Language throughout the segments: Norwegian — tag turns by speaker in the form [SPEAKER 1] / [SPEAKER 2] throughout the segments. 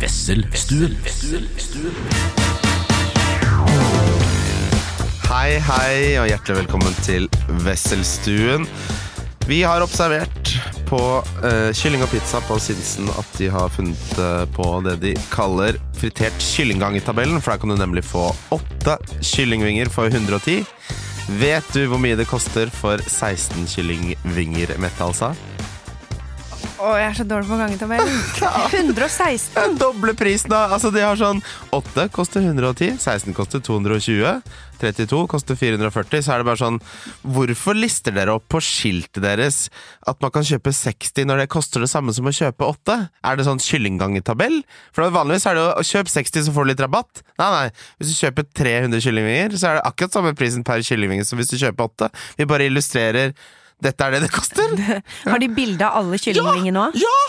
[SPEAKER 1] Wesselstuen.
[SPEAKER 2] Hei, hei, og hjertelig velkommen til Wesselstuen. Vi har observert på eh, kylling og pizza på Sinsen at de har funnet eh, på det de kaller fritert kyllinggang i tabellen, for der kan du nemlig få åtte kyllingvinger for 110. Vet du hvor mye det koster for 16 kyllingvinger, Mette, altså?
[SPEAKER 3] Å, jeg er så dårlig på gangetabell. 116.
[SPEAKER 2] Den doble prisen, da! Altså, de har sånn 8 koster 110, 16 koster 220, 32 koster 440. Så er det bare sånn Hvorfor lister dere opp på skiltet deres at man kan kjøpe 60 når det koster det samme som å kjøpe 8? Er det sånn kyllinggangetabell? For vanligvis er det jo kjøp 60, så får du litt rabatt. Nei, nei. Hvis du kjøper 300 kyllingvinger, så er det akkurat samme prisen per kyllingvinge som hvis du kjøper 8. Vi bare illustrerer dette er det det koster.
[SPEAKER 3] Har de bilde av alle kyllingvingene nå?
[SPEAKER 2] Ja!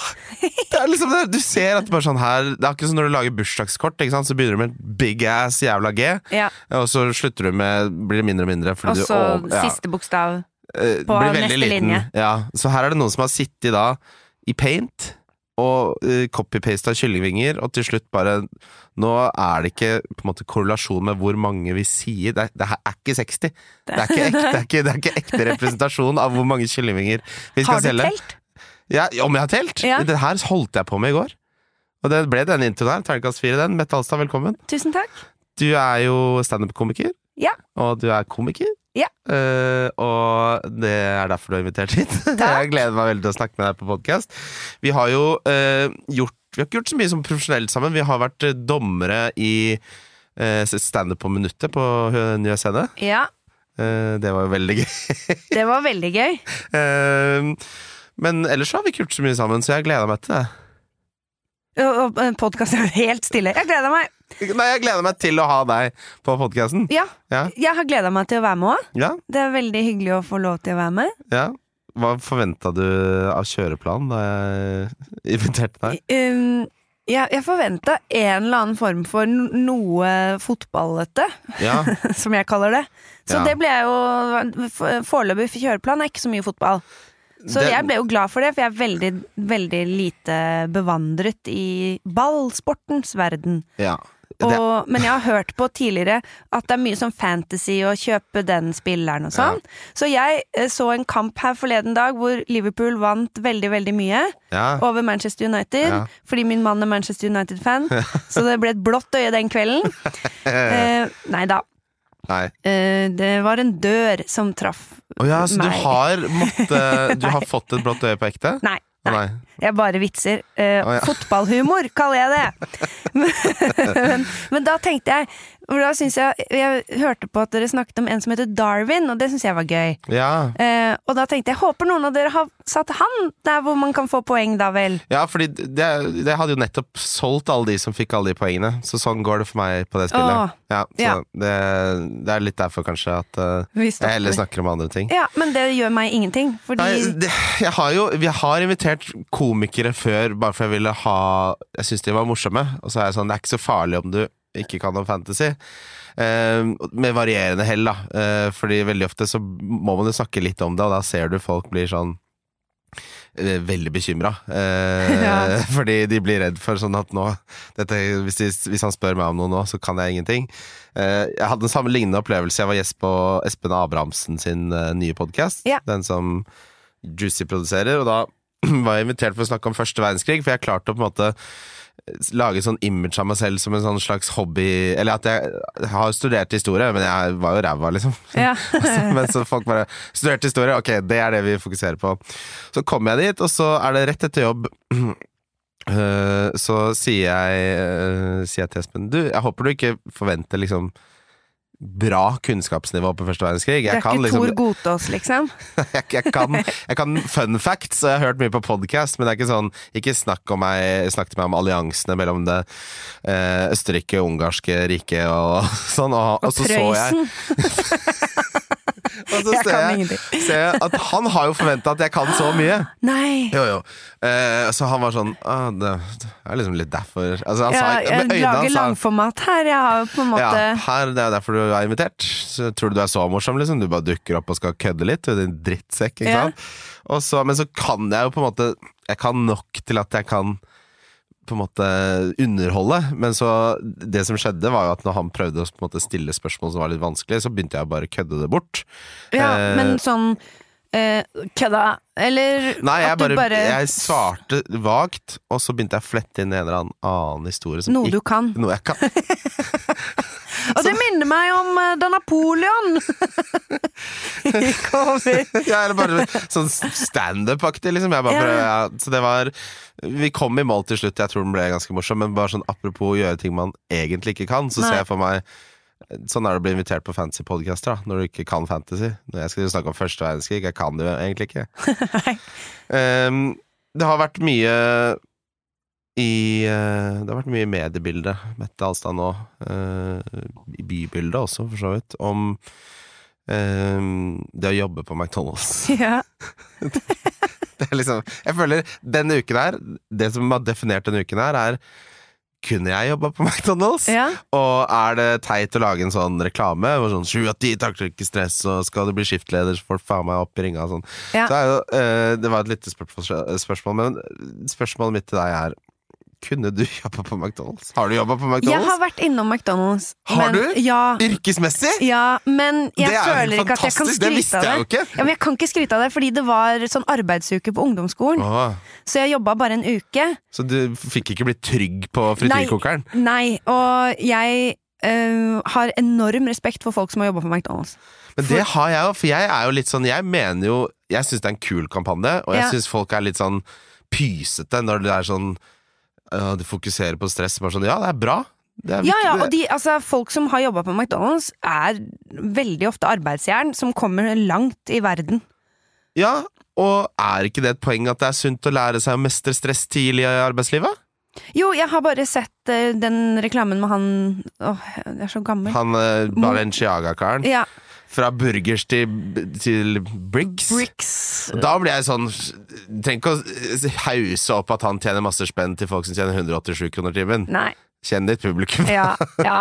[SPEAKER 2] Det er liksom det. Du ser at det bare sånn her Det er akkurat som når du lager bursdagskort, ikke sant? så begynner du med en big ass jævla G,
[SPEAKER 3] Ja.
[SPEAKER 2] og så slutter du med Blir det mindre og mindre.
[SPEAKER 3] Og
[SPEAKER 2] Fordi
[SPEAKER 3] så
[SPEAKER 2] du, over- ja,
[SPEAKER 3] siste bokstav.
[SPEAKER 2] eh,
[SPEAKER 3] på
[SPEAKER 2] blir veldig
[SPEAKER 3] neste
[SPEAKER 2] liten.
[SPEAKER 3] linje.
[SPEAKER 2] Ja. Så her er det noen som har sittet da i paint og uh, copy-pasta kyllingvinger, og til slutt bare Nå er det ikke på en måte korrelasjon med hvor mange vi sier. Det, er- det her er ikke 60. Det er ikke ekte, det er ikke, det er ikke ekte representasjon av hvor mange kyllingvinger vi skal
[SPEAKER 3] Har du
[SPEAKER 2] selge.
[SPEAKER 3] telt?
[SPEAKER 2] Ja, om jeg har telt?
[SPEAKER 3] Ja.
[SPEAKER 2] Det her holdt jeg på med i går. Og det ble denne introen her. Terningkast fire, den. Mette Alstad, velkommen.
[SPEAKER 3] Tusen takk.
[SPEAKER 2] Du er jo standup-komiker.
[SPEAKER 3] Ja.
[SPEAKER 2] Og du er komiker.
[SPEAKER 3] Ja.
[SPEAKER 2] Eh, og det er derfor du er invitert hit. Jeg gleder meg veldig til å snakke med deg på podkast. Vi har jo eh, gjort Vi har ikke gjort så mye som profesjonelt sammen. Vi har vært eh, dommere i eh, standup på minuttet på eh, Nye Scene.
[SPEAKER 3] Ja,
[SPEAKER 2] Eh, det var jo veldig gøy.
[SPEAKER 3] det var veldig gøy.
[SPEAKER 2] Eh, men ellers så har vi ikke gjort så mye sammen, så jeg gleder meg til det.
[SPEAKER 3] Podkasten er helt stille. Jeg gleder meg.
[SPEAKER 2] Nei, jeg gleder meg til å ha deg på podkasten.
[SPEAKER 3] Ja,
[SPEAKER 2] Ja.
[SPEAKER 3] jeg har gleda meg til å være med òg.
[SPEAKER 2] Ja,
[SPEAKER 3] Det er veldig hyggelig å få lov til å være med.
[SPEAKER 2] ja. Hva forventa du av kjøreplan da jeg inviterte deg?
[SPEAKER 3] Um, jeg, jeg forventa en eller annen form for no- noe fotballete,
[SPEAKER 2] Ja,
[SPEAKER 3] som jeg kaller det. Så
[SPEAKER 2] Ja.
[SPEAKER 3] det ble jeg jo for- Foreløpig for kjøreplan er ikke så mye fotball. Så
[SPEAKER 2] det,
[SPEAKER 3] jeg ble jo glad for det, for jeg er veldig, veldig lite bevandret i ballsportens verden.
[SPEAKER 2] ja.
[SPEAKER 3] Og,
[SPEAKER 2] Det,
[SPEAKER 3] men jeg har hørt på tidligere at det er mye sånn fantasy å kjøpe den spilleren og sånn. Så jeg eh, så en kamp her forleden dag hvor Liverpool vant veldig, veldig mye
[SPEAKER 2] ja.
[SPEAKER 3] over Manchester United.
[SPEAKER 2] Ja.
[SPEAKER 3] Fordi min mann er Manchester United-fan, så det ble et blått øye den kvelden. Eh, nei da.
[SPEAKER 2] Nei.
[SPEAKER 3] Eh, det var en dør som traff
[SPEAKER 2] Å ja, så du
[SPEAKER 3] meg.
[SPEAKER 2] har måtte Du har fått et blått øye på ekte?
[SPEAKER 3] Nei.
[SPEAKER 2] Å,
[SPEAKER 3] nei.
[SPEAKER 2] Nei.
[SPEAKER 3] Jeg bare vitser. Eh,
[SPEAKER 2] Å, ja.
[SPEAKER 3] Fotballhumor kaller jeg det. men, men da tenkte jeg for da synes jeg, jeg hørte på at dere snakket om en som heter Darwin, og det syns jeg var gøy.
[SPEAKER 2] Ja.
[SPEAKER 3] Eh, og da tenkte jeg håper noen av dere har satt han der hvor man kan få poeng, da vel.
[SPEAKER 2] ja, fordi det, det hadde jo nettopp solgt alle de som fikk alle de poengene. Så sånn går det for meg på det spillet.
[SPEAKER 3] Å,
[SPEAKER 2] ja, så
[SPEAKER 3] ja.
[SPEAKER 2] Det, det er litt derfor kanskje at eh,
[SPEAKER 3] Vi
[SPEAKER 2] jeg
[SPEAKER 3] stopper.
[SPEAKER 2] heller snakker om andre ting.
[SPEAKER 3] Ja, men det gjør meg ingenting, fordi
[SPEAKER 2] Nei, det, jeg har jo Vi har invitert komikere før bare for jeg ville ha Jeg syns de var morsomme. Og så er jeg sånn Det er ikke så farlig om du ikke kan noe fantasy. Eh, med varierende hell, da. Eh, fordi veldig ofte så må man jo snakke litt om det, og da ser du folk blir sånn eh, Veldig bekymra. Eh,
[SPEAKER 3] Ja.
[SPEAKER 2] Fordi de blir redd for sånn at nå dette, hvis, de, hvis han spør meg om noe nå, så kan jeg ingenting. Eh, jeg hadde en samme lignende opplevelse. Jeg var gjest på Espen Abrahamsen sin eh, nye podkast.
[SPEAKER 3] Ja.
[SPEAKER 2] Den som Juicy produserer. Og da var jeg invitert for å snakke om første verdenskrig, for jeg klarte å på en måte lage sånn image av meg selv som en sånn slags hobby Eller at jeg har studert historie, men jeg var jo ræva, liksom.
[SPEAKER 3] ja.
[SPEAKER 2] Altså, Men så folk bare Studerte historie, ok, det er det vi fokuserer på. Så kom jeg dit, og så er det rett etter jobb eh, Så sier jeg, eh, sier jeg til Espen Du, jeg håper du ikke forventer liksom bra kunnskapsnivå på første verdenskrig.
[SPEAKER 3] Det er
[SPEAKER 2] Jeg kan
[SPEAKER 3] ikke
[SPEAKER 2] liksom
[SPEAKER 3] Tor Gotaas, liksom.
[SPEAKER 2] jeg, jeg, kan, jeg kan fun facts, og jeg har hørt mye på podcast, men det er ikke sånn Ikke snakk, om meg, snakk til meg om alliansene mellom det eh, østerrike-ungarske riket og sånn. Og, og så så jeg
[SPEAKER 3] Prøysen.
[SPEAKER 2] Og så
[SPEAKER 3] Jeg
[SPEAKER 2] ser
[SPEAKER 3] kan
[SPEAKER 2] jeg,
[SPEAKER 3] ingenting.
[SPEAKER 2] ser jeg at han har jo forventa at jeg kan så mye.
[SPEAKER 3] Nei.
[SPEAKER 2] Jo, jo. Eh, så han var sånn ah, det, det er liksom litt derfor altså, han
[SPEAKER 3] Ja,
[SPEAKER 2] sa,
[SPEAKER 3] jeg
[SPEAKER 2] Med øynene
[SPEAKER 3] lager
[SPEAKER 2] hans sa
[SPEAKER 3] langformat her. Jeg har jo på en måte
[SPEAKER 2] ja, her, det er derfor du er invitert. Så tror du du er så morsom, liksom. Du bare dukker opp og skal kødde litt. Du er en drittsekk, ikke
[SPEAKER 3] Ja.
[SPEAKER 2] sant. Og så, men så kan jeg jo på en måte Jeg kan nok til at jeg kan på en måte underholde. Men så det som skjedde, var jo at når han prøvde å på en måte stille spørsmål som var litt vanskelig, så begynte jeg å bare kødde det bort.
[SPEAKER 3] Ja,
[SPEAKER 2] Eh,
[SPEAKER 3] men sånn eh, Kødda! Eller
[SPEAKER 2] Nei, jeg,
[SPEAKER 3] at du
[SPEAKER 2] bare,
[SPEAKER 3] bare,
[SPEAKER 2] jeg svarte vagt, og så begynte jeg å flette inn en eller annen annen historie. Som
[SPEAKER 3] Noe du
[SPEAKER 2] ikke,
[SPEAKER 3] kan.
[SPEAKER 2] noe jeg kan.
[SPEAKER 3] Og det minner meg om eh, da Napoleon kommer.
[SPEAKER 2] Ja, eller bare sånn standup-aktig, liksom. Jeg bare,
[SPEAKER 3] Ja, ja.
[SPEAKER 2] prøver- ja, så det var Vi kom i mål til slutt, jeg tror den ble ganske morsom, men bare sånn apropos å gjøre ting man egentlig ikke kan, så
[SPEAKER 3] Nei.
[SPEAKER 2] ser jeg for meg Sånn er det å bli invitert på fantasy podcaster da, når du ikke kan fantasy. Når jeg skal snakke om første verdenskrig, jeg kan det jo egentlig ikke.
[SPEAKER 3] Nei.
[SPEAKER 2] Ehm, det har vært mye i eh, Det har vært mye i mediebildet, Mette Alstad nå, eh, i bybildet også, for så vidt, om ehm, det å jobbe på McDonald's.
[SPEAKER 3] Ja.
[SPEAKER 2] Det er liksom, jeg føler denne uken her Det som har definert denne uken her er Kunne jeg jobba på McDonalds?
[SPEAKER 3] ja.
[SPEAKER 2] Og er det teit å lage en sånn reklame hvor sånn 7 av 10 takler ikke stress, og skal du bli skiftleder, så får du faen meg opp i ringa og sånn.
[SPEAKER 3] Ja.
[SPEAKER 2] Så er jo, eh, det var et lite spørsmål, spørsmål, men spørsmålet mitt til deg er Kunne du jobba på McDonald's? Har du jobba på
[SPEAKER 3] Jeg har
[SPEAKER 2] McDonald's?
[SPEAKER 3] vært innom McDonald's.
[SPEAKER 2] Har
[SPEAKER 3] men,
[SPEAKER 2] du?
[SPEAKER 3] Ja,
[SPEAKER 2] Yrkesmessig?
[SPEAKER 3] ja, men jeg
[SPEAKER 2] det er
[SPEAKER 3] føler
[SPEAKER 2] jo
[SPEAKER 3] ikke at jeg kan
[SPEAKER 2] fantastisk! Det
[SPEAKER 3] skryte
[SPEAKER 2] visste jeg
[SPEAKER 3] av
[SPEAKER 2] jo
[SPEAKER 3] det.
[SPEAKER 2] ikke!
[SPEAKER 3] Ja, men jeg kan ikke skryte av det, fordi det var sånn arbeidsuke på ungdomsskolen.
[SPEAKER 2] Åh,
[SPEAKER 3] Så jeg jobba bare en uke.
[SPEAKER 2] så du fikk ikke blitt trygg på frityrkokeren?
[SPEAKER 3] Nei, og jeg øh, har enorm respekt for folk som har jobba på McDonald's.
[SPEAKER 2] Men det har jeg jo, for jeg er jo litt sånn Jeg mener jo Jeg syns det er en kul kampanje, og jeg
[SPEAKER 3] Ja.
[SPEAKER 2] synes syns folk er litt sånn pysete når det er sånn øh, Du fokuserer på stress. Bare sånn Ja, det er bra. Det er
[SPEAKER 3] Ja, ja,
[SPEAKER 2] viktig,
[SPEAKER 3] og de, altså, folk som har jobba på McDonald's, er veldig ofte arbeidsjern som kommer langt i verden.
[SPEAKER 2] det- ja, og er ikke det et poeng at det er sunt å lære seg å mestre stress tidlig i arbeidslivet?
[SPEAKER 3] Jo, jeg har bare sett eh, den reklamen med han Åh, jeg er så gammel.
[SPEAKER 2] Han øh, Balenciaga-karen.
[SPEAKER 3] Mm. Ja.
[SPEAKER 2] Fra burgers til, til Briggs.
[SPEAKER 3] Bricks.
[SPEAKER 2] Da blir jeg sånn Trenger ikke å eh, hause opp at han tjener masse spenn til folk som tjener 187 kroner timen.
[SPEAKER 3] Nei.
[SPEAKER 2] Kjenn ditt publikum.
[SPEAKER 3] Ja, ja.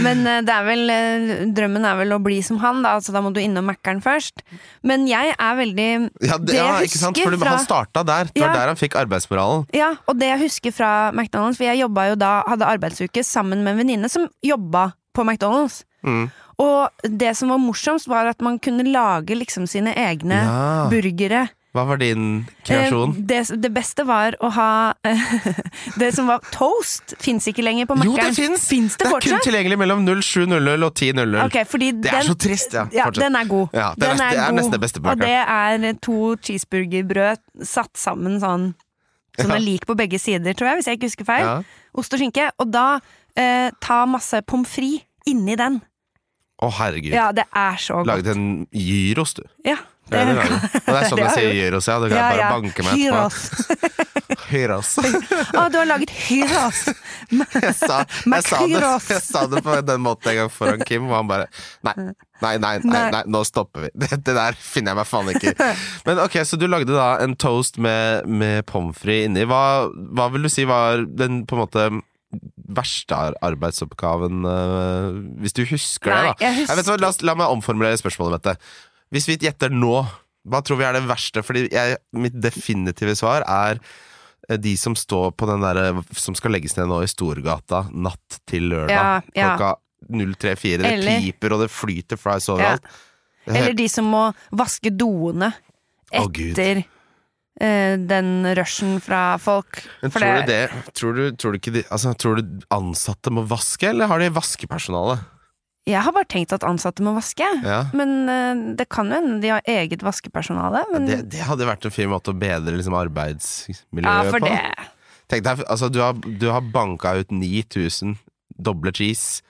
[SPEAKER 3] Men eh, det er vel eh, Drømmen er vel å bli som han, da. Altså, da må du innom Mækkern først. Men jeg er veldig
[SPEAKER 2] Ja, det,
[SPEAKER 3] Det
[SPEAKER 2] ja
[SPEAKER 3] jeg
[SPEAKER 2] ikke sant?
[SPEAKER 3] husker
[SPEAKER 2] Fordi
[SPEAKER 3] fra-
[SPEAKER 2] han starta der. Det var
[SPEAKER 3] Ja.
[SPEAKER 2] der han fikk arbeidsmoralen.
[SPEAKER 3] Ja, og det jeg husker fra McDonald's For jeg jobba jo da, hadde arbeidsuke sammen med en venninne som jobba på McDonald's.
[SPEAKER 2] Mm.
[SPEAKER 3] Og det som var morsomst, var at man kunne lage liksom sine egne
[SPEAKER 2] Ja.
[SPEAKER 3] burgere.
[SPEAKER 2] Hva var din kreasjon?
[SPEAKER 3] Eh, det, det beste var å ha Det som var toast, fins ikke lenger på
[SPEAKER 2] jo, det
[SPEAKER 3] Mækkern.
[SPEAKER 2] fins!
[SPEAKER 3] Fins det
[SPEAKER 2] er kun
[SPEAKER 3] fortsatt?
[SPEAKER 2] tilgjengelig mellom 0700 og 1000.
[SPEAKER 3] Ok, fordi
[SPEAKER 2] Det er
[SPEAKER 3] den-
[SPEAKER 2] så trist, ja.
[SPEAKER 3] Ja,
[SPEAKER 2] Fortsett.
[SPEAKER 3] den er god.
[SPEAKER 2] Ja, det er nesten- det er nesten det beste på
[SPEAKER 3] og det er to cheeseburgerbrød satt sammen sånn Sånn
[SPEAKER 2] Ja.
[SPEAKER 3] er lik på begge sider, tror jeg, hvis jeg ikke husker feil.
[SPEAKER 2] Ja.
[SPEAKER 3] Ost og skinke. Og da eh, ta masse pommes frites inni den.
[SPEAKER 2] Å, herregud.
[SPEAKER 3] Ja, det er så godt.
[SPEAKER 2] Laget en gyros, du.
[SPEAKER 3] Ja,
[SPEAKER 2] Det er, det, laget. og det er sånn
[SPEAKER 3] det
[SPEAKER 2] jeg
[SPEAKER 3] har
[SPEAKER 2] sier
[SPEAKER 3] jeg
[SPEAKER 2] gyros, ja. Du kan bare banke meg etterpå.
[SPEAKER 3] Hyros.
[SPEAKER 2] Hyros.
[SPEAKER 3] Å, du har laget hyros!
[SPEAKER 2] Jeg sa, jeg, sa det,
[SPEAKER 3] Makhyros.
[SPEAKER 2] jeg sa det på den måten en gang foran Kim, og han bare Nei, nei, nei, nei,
[SPEAKER 3] Nei.
[SPEAKER 2] nei nå stopper vi. Det, det der finner jeg meg faen ikke i. Men ok, så du lagde da en toast med, med pommes frites inni. Hva, hva vil du si var den på en måte verste ar- arbeidsoppgaven, øh, hvis du husker
[SPEAKER 3] Nei,
[SPEAKER 2] det, da?
[SPEAKER 3] jeg husker-
[SPEAKER 2] Nei, vet du hva, la, oss- la meg omformulere spørsmålet, Mette. Hvis vi gjetter nå, hva tror vi er det verste? Fordi jeg, mitt definitive svar er eh, de som står på den der som skal legges ned nå i Storgata natt til
[SPEAKER 3] Ja,
[SPEAKER 2] lørdag
[SPEAKER 3] ja.
[SPEAKER 2] klokka 03.04. Det
[SPEAKER 3] Eller-
[SPEAKER 2] piper, og det flyter fries
[SPEAKER 3] Ja.
[SPEAKER 2] overalt. Det er
[SPEAKER 3] Eller
[SPEAKER 2] helt-
[SPEAKER 3] de som må vaske doene
[SPEAKER 2] Å, Gud.
[SPEAKER 3] etter eh, den rushen fra folk.
[SPEAKER 2] Men
[SPEAKER 3] For
[SPEAKER 2] tror du det tror du, tror, du ikke de, altså, tror du ansatte må vaske, eller har de vaskepersonale?
[SPEAKER 3] Jeg har bare tenkt at ansatte må vaske.
[SPEAKER 2] Ja.
[SPEAKER 3] Men eh, det kan jo hende de har eget vaskepersonale. Men,
[SPEAKER 2] Det, det hadde vært en fin måte å bedre liksom,
[SPEAKER 3] ja,
[SPEAKER 2] arbeidsmiljøet
[SPEAKER 3] for
[SPEAKER 2] på.
[SPEAKER 3] det.
[SPEAKER 2] Tenk deg, altså, du, har, du har banka ut 9000 doble cheese.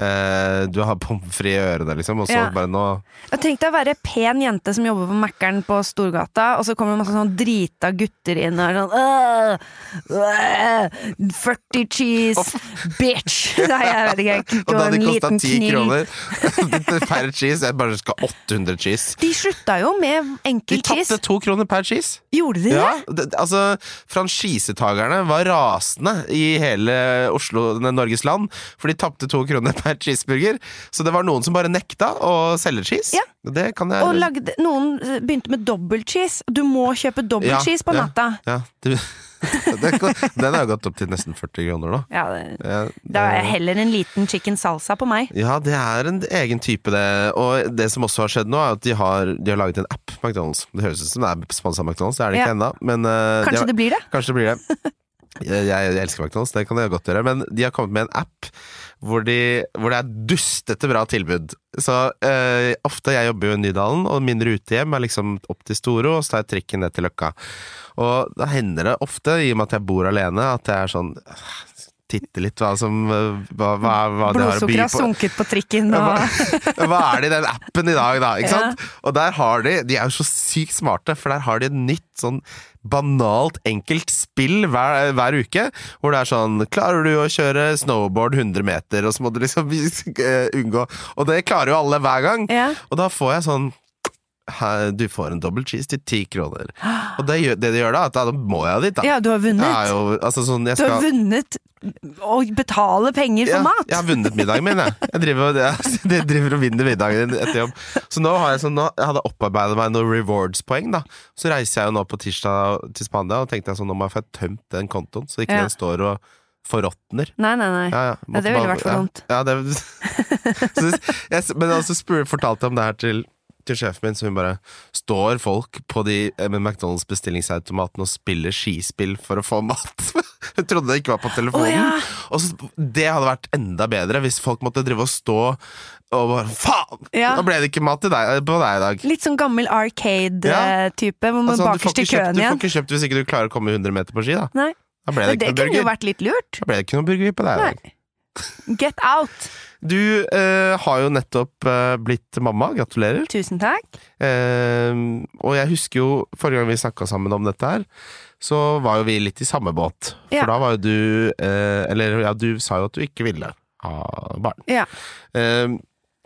[SPEAKER 2] Eh, du har pommes frites i ørene, liksom, og så
[SPEAKER 3] Ja.
[SPEAKER 2] bare nå
[SPEAKER 3] Jeg tenkte å være pen jente som jobber på Mækkern på Storgata, og så kommer det masse sånn drita gutter inn og er sånn «Åh, øh, 40 cheese, bitch! Nei, jeg vet ikke. Jeg
[SPEAKER 2] Og
[SPEAKER 3] kunne
[SPEAKER 2] da
[SPEAKER 3] ikke
[SPEAKER 2] hadde
[SPEAKER 3] en
[SPEAKER 2] de kosta
[SPEAKER 3] liten
[SPEAKER 2] 10
[SPEAKER 3] kniv.
[SPEAKER 2] kroner per cheese. Jeg bare skal ha 800 cheese.
[SPEAKER 3] De slutta jo med
[SPEAKER 2] De
[SPEAKER 3] enkel
[SPEAKER 2] tapte
[SPEAKER 3] cheese.
[SPEAKER 2] to kroner per cheese.
[SPEAKER 3] Gjorde de det?
[SPEAKER 2] Ja, det, altså Franchisetagerne var rasende i hele Oslo, nei, Norges land, for de tapte to kroner per cheeseburger. Så det var noen som bare nekta å selge cheese.
[SPEAKER 3] Ja.
[SPEAKER 2] Det kan
[SPEAKER 3] Og eh,
[SPEAKER 2] jeg
[SPEAKER 3] lagde, noen begynte med dobbel cheese. Du må kjøpe dobbel
[SPEAKER 2] Ja,
[SPEAKER 3] cheese på
[SPEAKER 2] ja.
[SPEAKER 3] natta.
[SPEAKER 2] ja, du, Den kan- den har jo gått opp til nesten 40 kroner nå.
[SPEAKER 3] Ja, det,
[SPEAKER 2] Ja, eh,
[SPEAKER 3] da er jeg heller en liten chicken salsa på meg.
[SPEAKER 2] Ja, det er en egen type, det. Og det som også har skjedd nå, er at de har, de har laget en app, McDonald's. Det høres ut som det er sponsa McDonald's, det er det ikke
[SPEAKER 3] Ja.
[SPEAKER 2] ennå. Men eh, de
[SPEAKER 3] Kanskje
[SPEAKER 2] har,
[SPEAKER 3] det blir det?
[SPEAKER 2] Kanskje det blir det. Jeg, jeg, jeg elsker McDonald's, det kan jeg godt gjøre. Men de har kommet med en app hvor, de, hvor det er dustete bra tilbud. Så eh, ofte Jeg jobber jo i Nydalen, og min rute hjem er liksom opp til Storo, og så tar jeg trikken ned til Løkka. Og da hender det ofte, i og med at jeg bor alene, at jeg er sånn «Ah, Titte litt hva som eh, Hva, hva, hva det har å by
[SPEAKER 3] Blodsukkeret har
[SPEAKER 2] på.
[SPEAKER 3] sunket på trikken
[SPEAKER 2] Ja,
[SPEAKER 3] og
[SPEAKER 2] hva, hva er det i den appen i dag, da? Ikke sant? Og der har de De er jo så sykt smarte, for der har de et nytt sånn banalt, enkelt spill hver, hver uke. Hvor det er sånn Klarer du å kjøre snowboard 100 meter? Og så må du liksom eh, unngå Og det klarer jo alle hver gang.
[SPEAKER 3] Ja.
[SPEAKER 2] Og da får jeg sånn «Hæ, du får en double cheese til ti kroner. Og det, gjør- det de gjør da, er at da må jeg dit, da.
[SPEAKER 3] Ja, du har
[SPEAKER 2] Jeg
[SPEAKER 3] vunnet.
[SPEAKER 2] er jo, altså sånn, jeg
[SPEAKER 3] Du
[SPEAKER 2] skal,
[SPEAKER 3] har vunnet å betale penger for
[SPEAKER 2] ja,
[SPEAKER 3] mat!
[SPEAKER 2] Jeg har vunnet middagen min, jeg. Jeg driver, jeg, jeg driver og vinner middagen etter jobb. Så nå har jeg, sånn, nå, jeg hadde opparbeidet meg noen rewards-poeng, da. Så reiser jeg jo nå på tirsdag til Spania, og tenkte jeg sånn, nå må jeg få tømt den kontoen, så ikke
[SPEAKER 3] Ja.
[SPEAKER 2] den står og forråtner.
[SPEAKER 3] Nei, nei, nei.
[SPEAKER 2] Ja, ja.
[SPEAKER 3] Ja, det
[SPEAKER 2] Måtte
[SPEAKER 3] ville
[SPEAKER 2] bare-
[SPEAKER 3] vært for
[SPEAKER 2] ja.
[SPEAKER 3] dumt.
[SPEAKER 2] Ja, det, så, jeg, men altså, spur, fortalte jeg om det her til til sjefen min, så hun bare Står folk på de eh, med McDonald's bestillingsautomaten og spiller skispill for å få mat? Hun trodde det ikke var på telefonen.
[SPEAKER 3] Å, ja.
[SPEAKER 2] Og så, Det hadde vært enda bedre hvis folk måtte drive og stå og bare Faen!
[SPEAKER 3] Ja.
[SPEAKER 2] Nå ble det ikke mat til deg, eh, på deg i dag.
[SPEAKER 3] Litt sånn gammel arcade-type, hvor man
[SPEAKER 2] Altså, du, får
[SPEAKER 3] bakerst i
[SPEAKER 2] ikke kjøpt,
[SPEAKER 3] køen
[SPEAKER 2] du får
[SPEAKER 3] igjen.
[SPEAKER 2] ikke kjøpt hvis ikke du klarer å komme 100 meter på ski, da.
[SPEAKER 3] Nei,
[SPEAKER 2] Da ble det,
[SPEAKER 3] men
[SPEAKER 2] ikke
[SPEAKER 3] det
[SPEAKER 2] noe
[SPEAKER 3] kunne jo
[SPEAKER 2] burger.
[SPEAKER 3] vært litt lurt.
[SPEAKER 2] Da ble det ikke noe burger på deg i
[SPEAKER 3] Nei.
[SPEAKER 2] dag.
[SPEAKER 3] Get out!
[SPEAKER 2] Du eh, har jo nettopp eh, blitt mamma. Gratulerer.
[SPEAKER 3] Tusen takk.
[SPEAKER 2] Eh, og jeg husker jo forrige gang vi snakka sammen om dette her, så var jo vi litt i samme båt. For
[SPEAKER 3] Ja.
[SPEAKER 2] da var jo du eh, Eller ja, du sa jo at du ikke ville ha barn.
[SPEAKER 3] Ja.
[SPEAKER 2] Eh,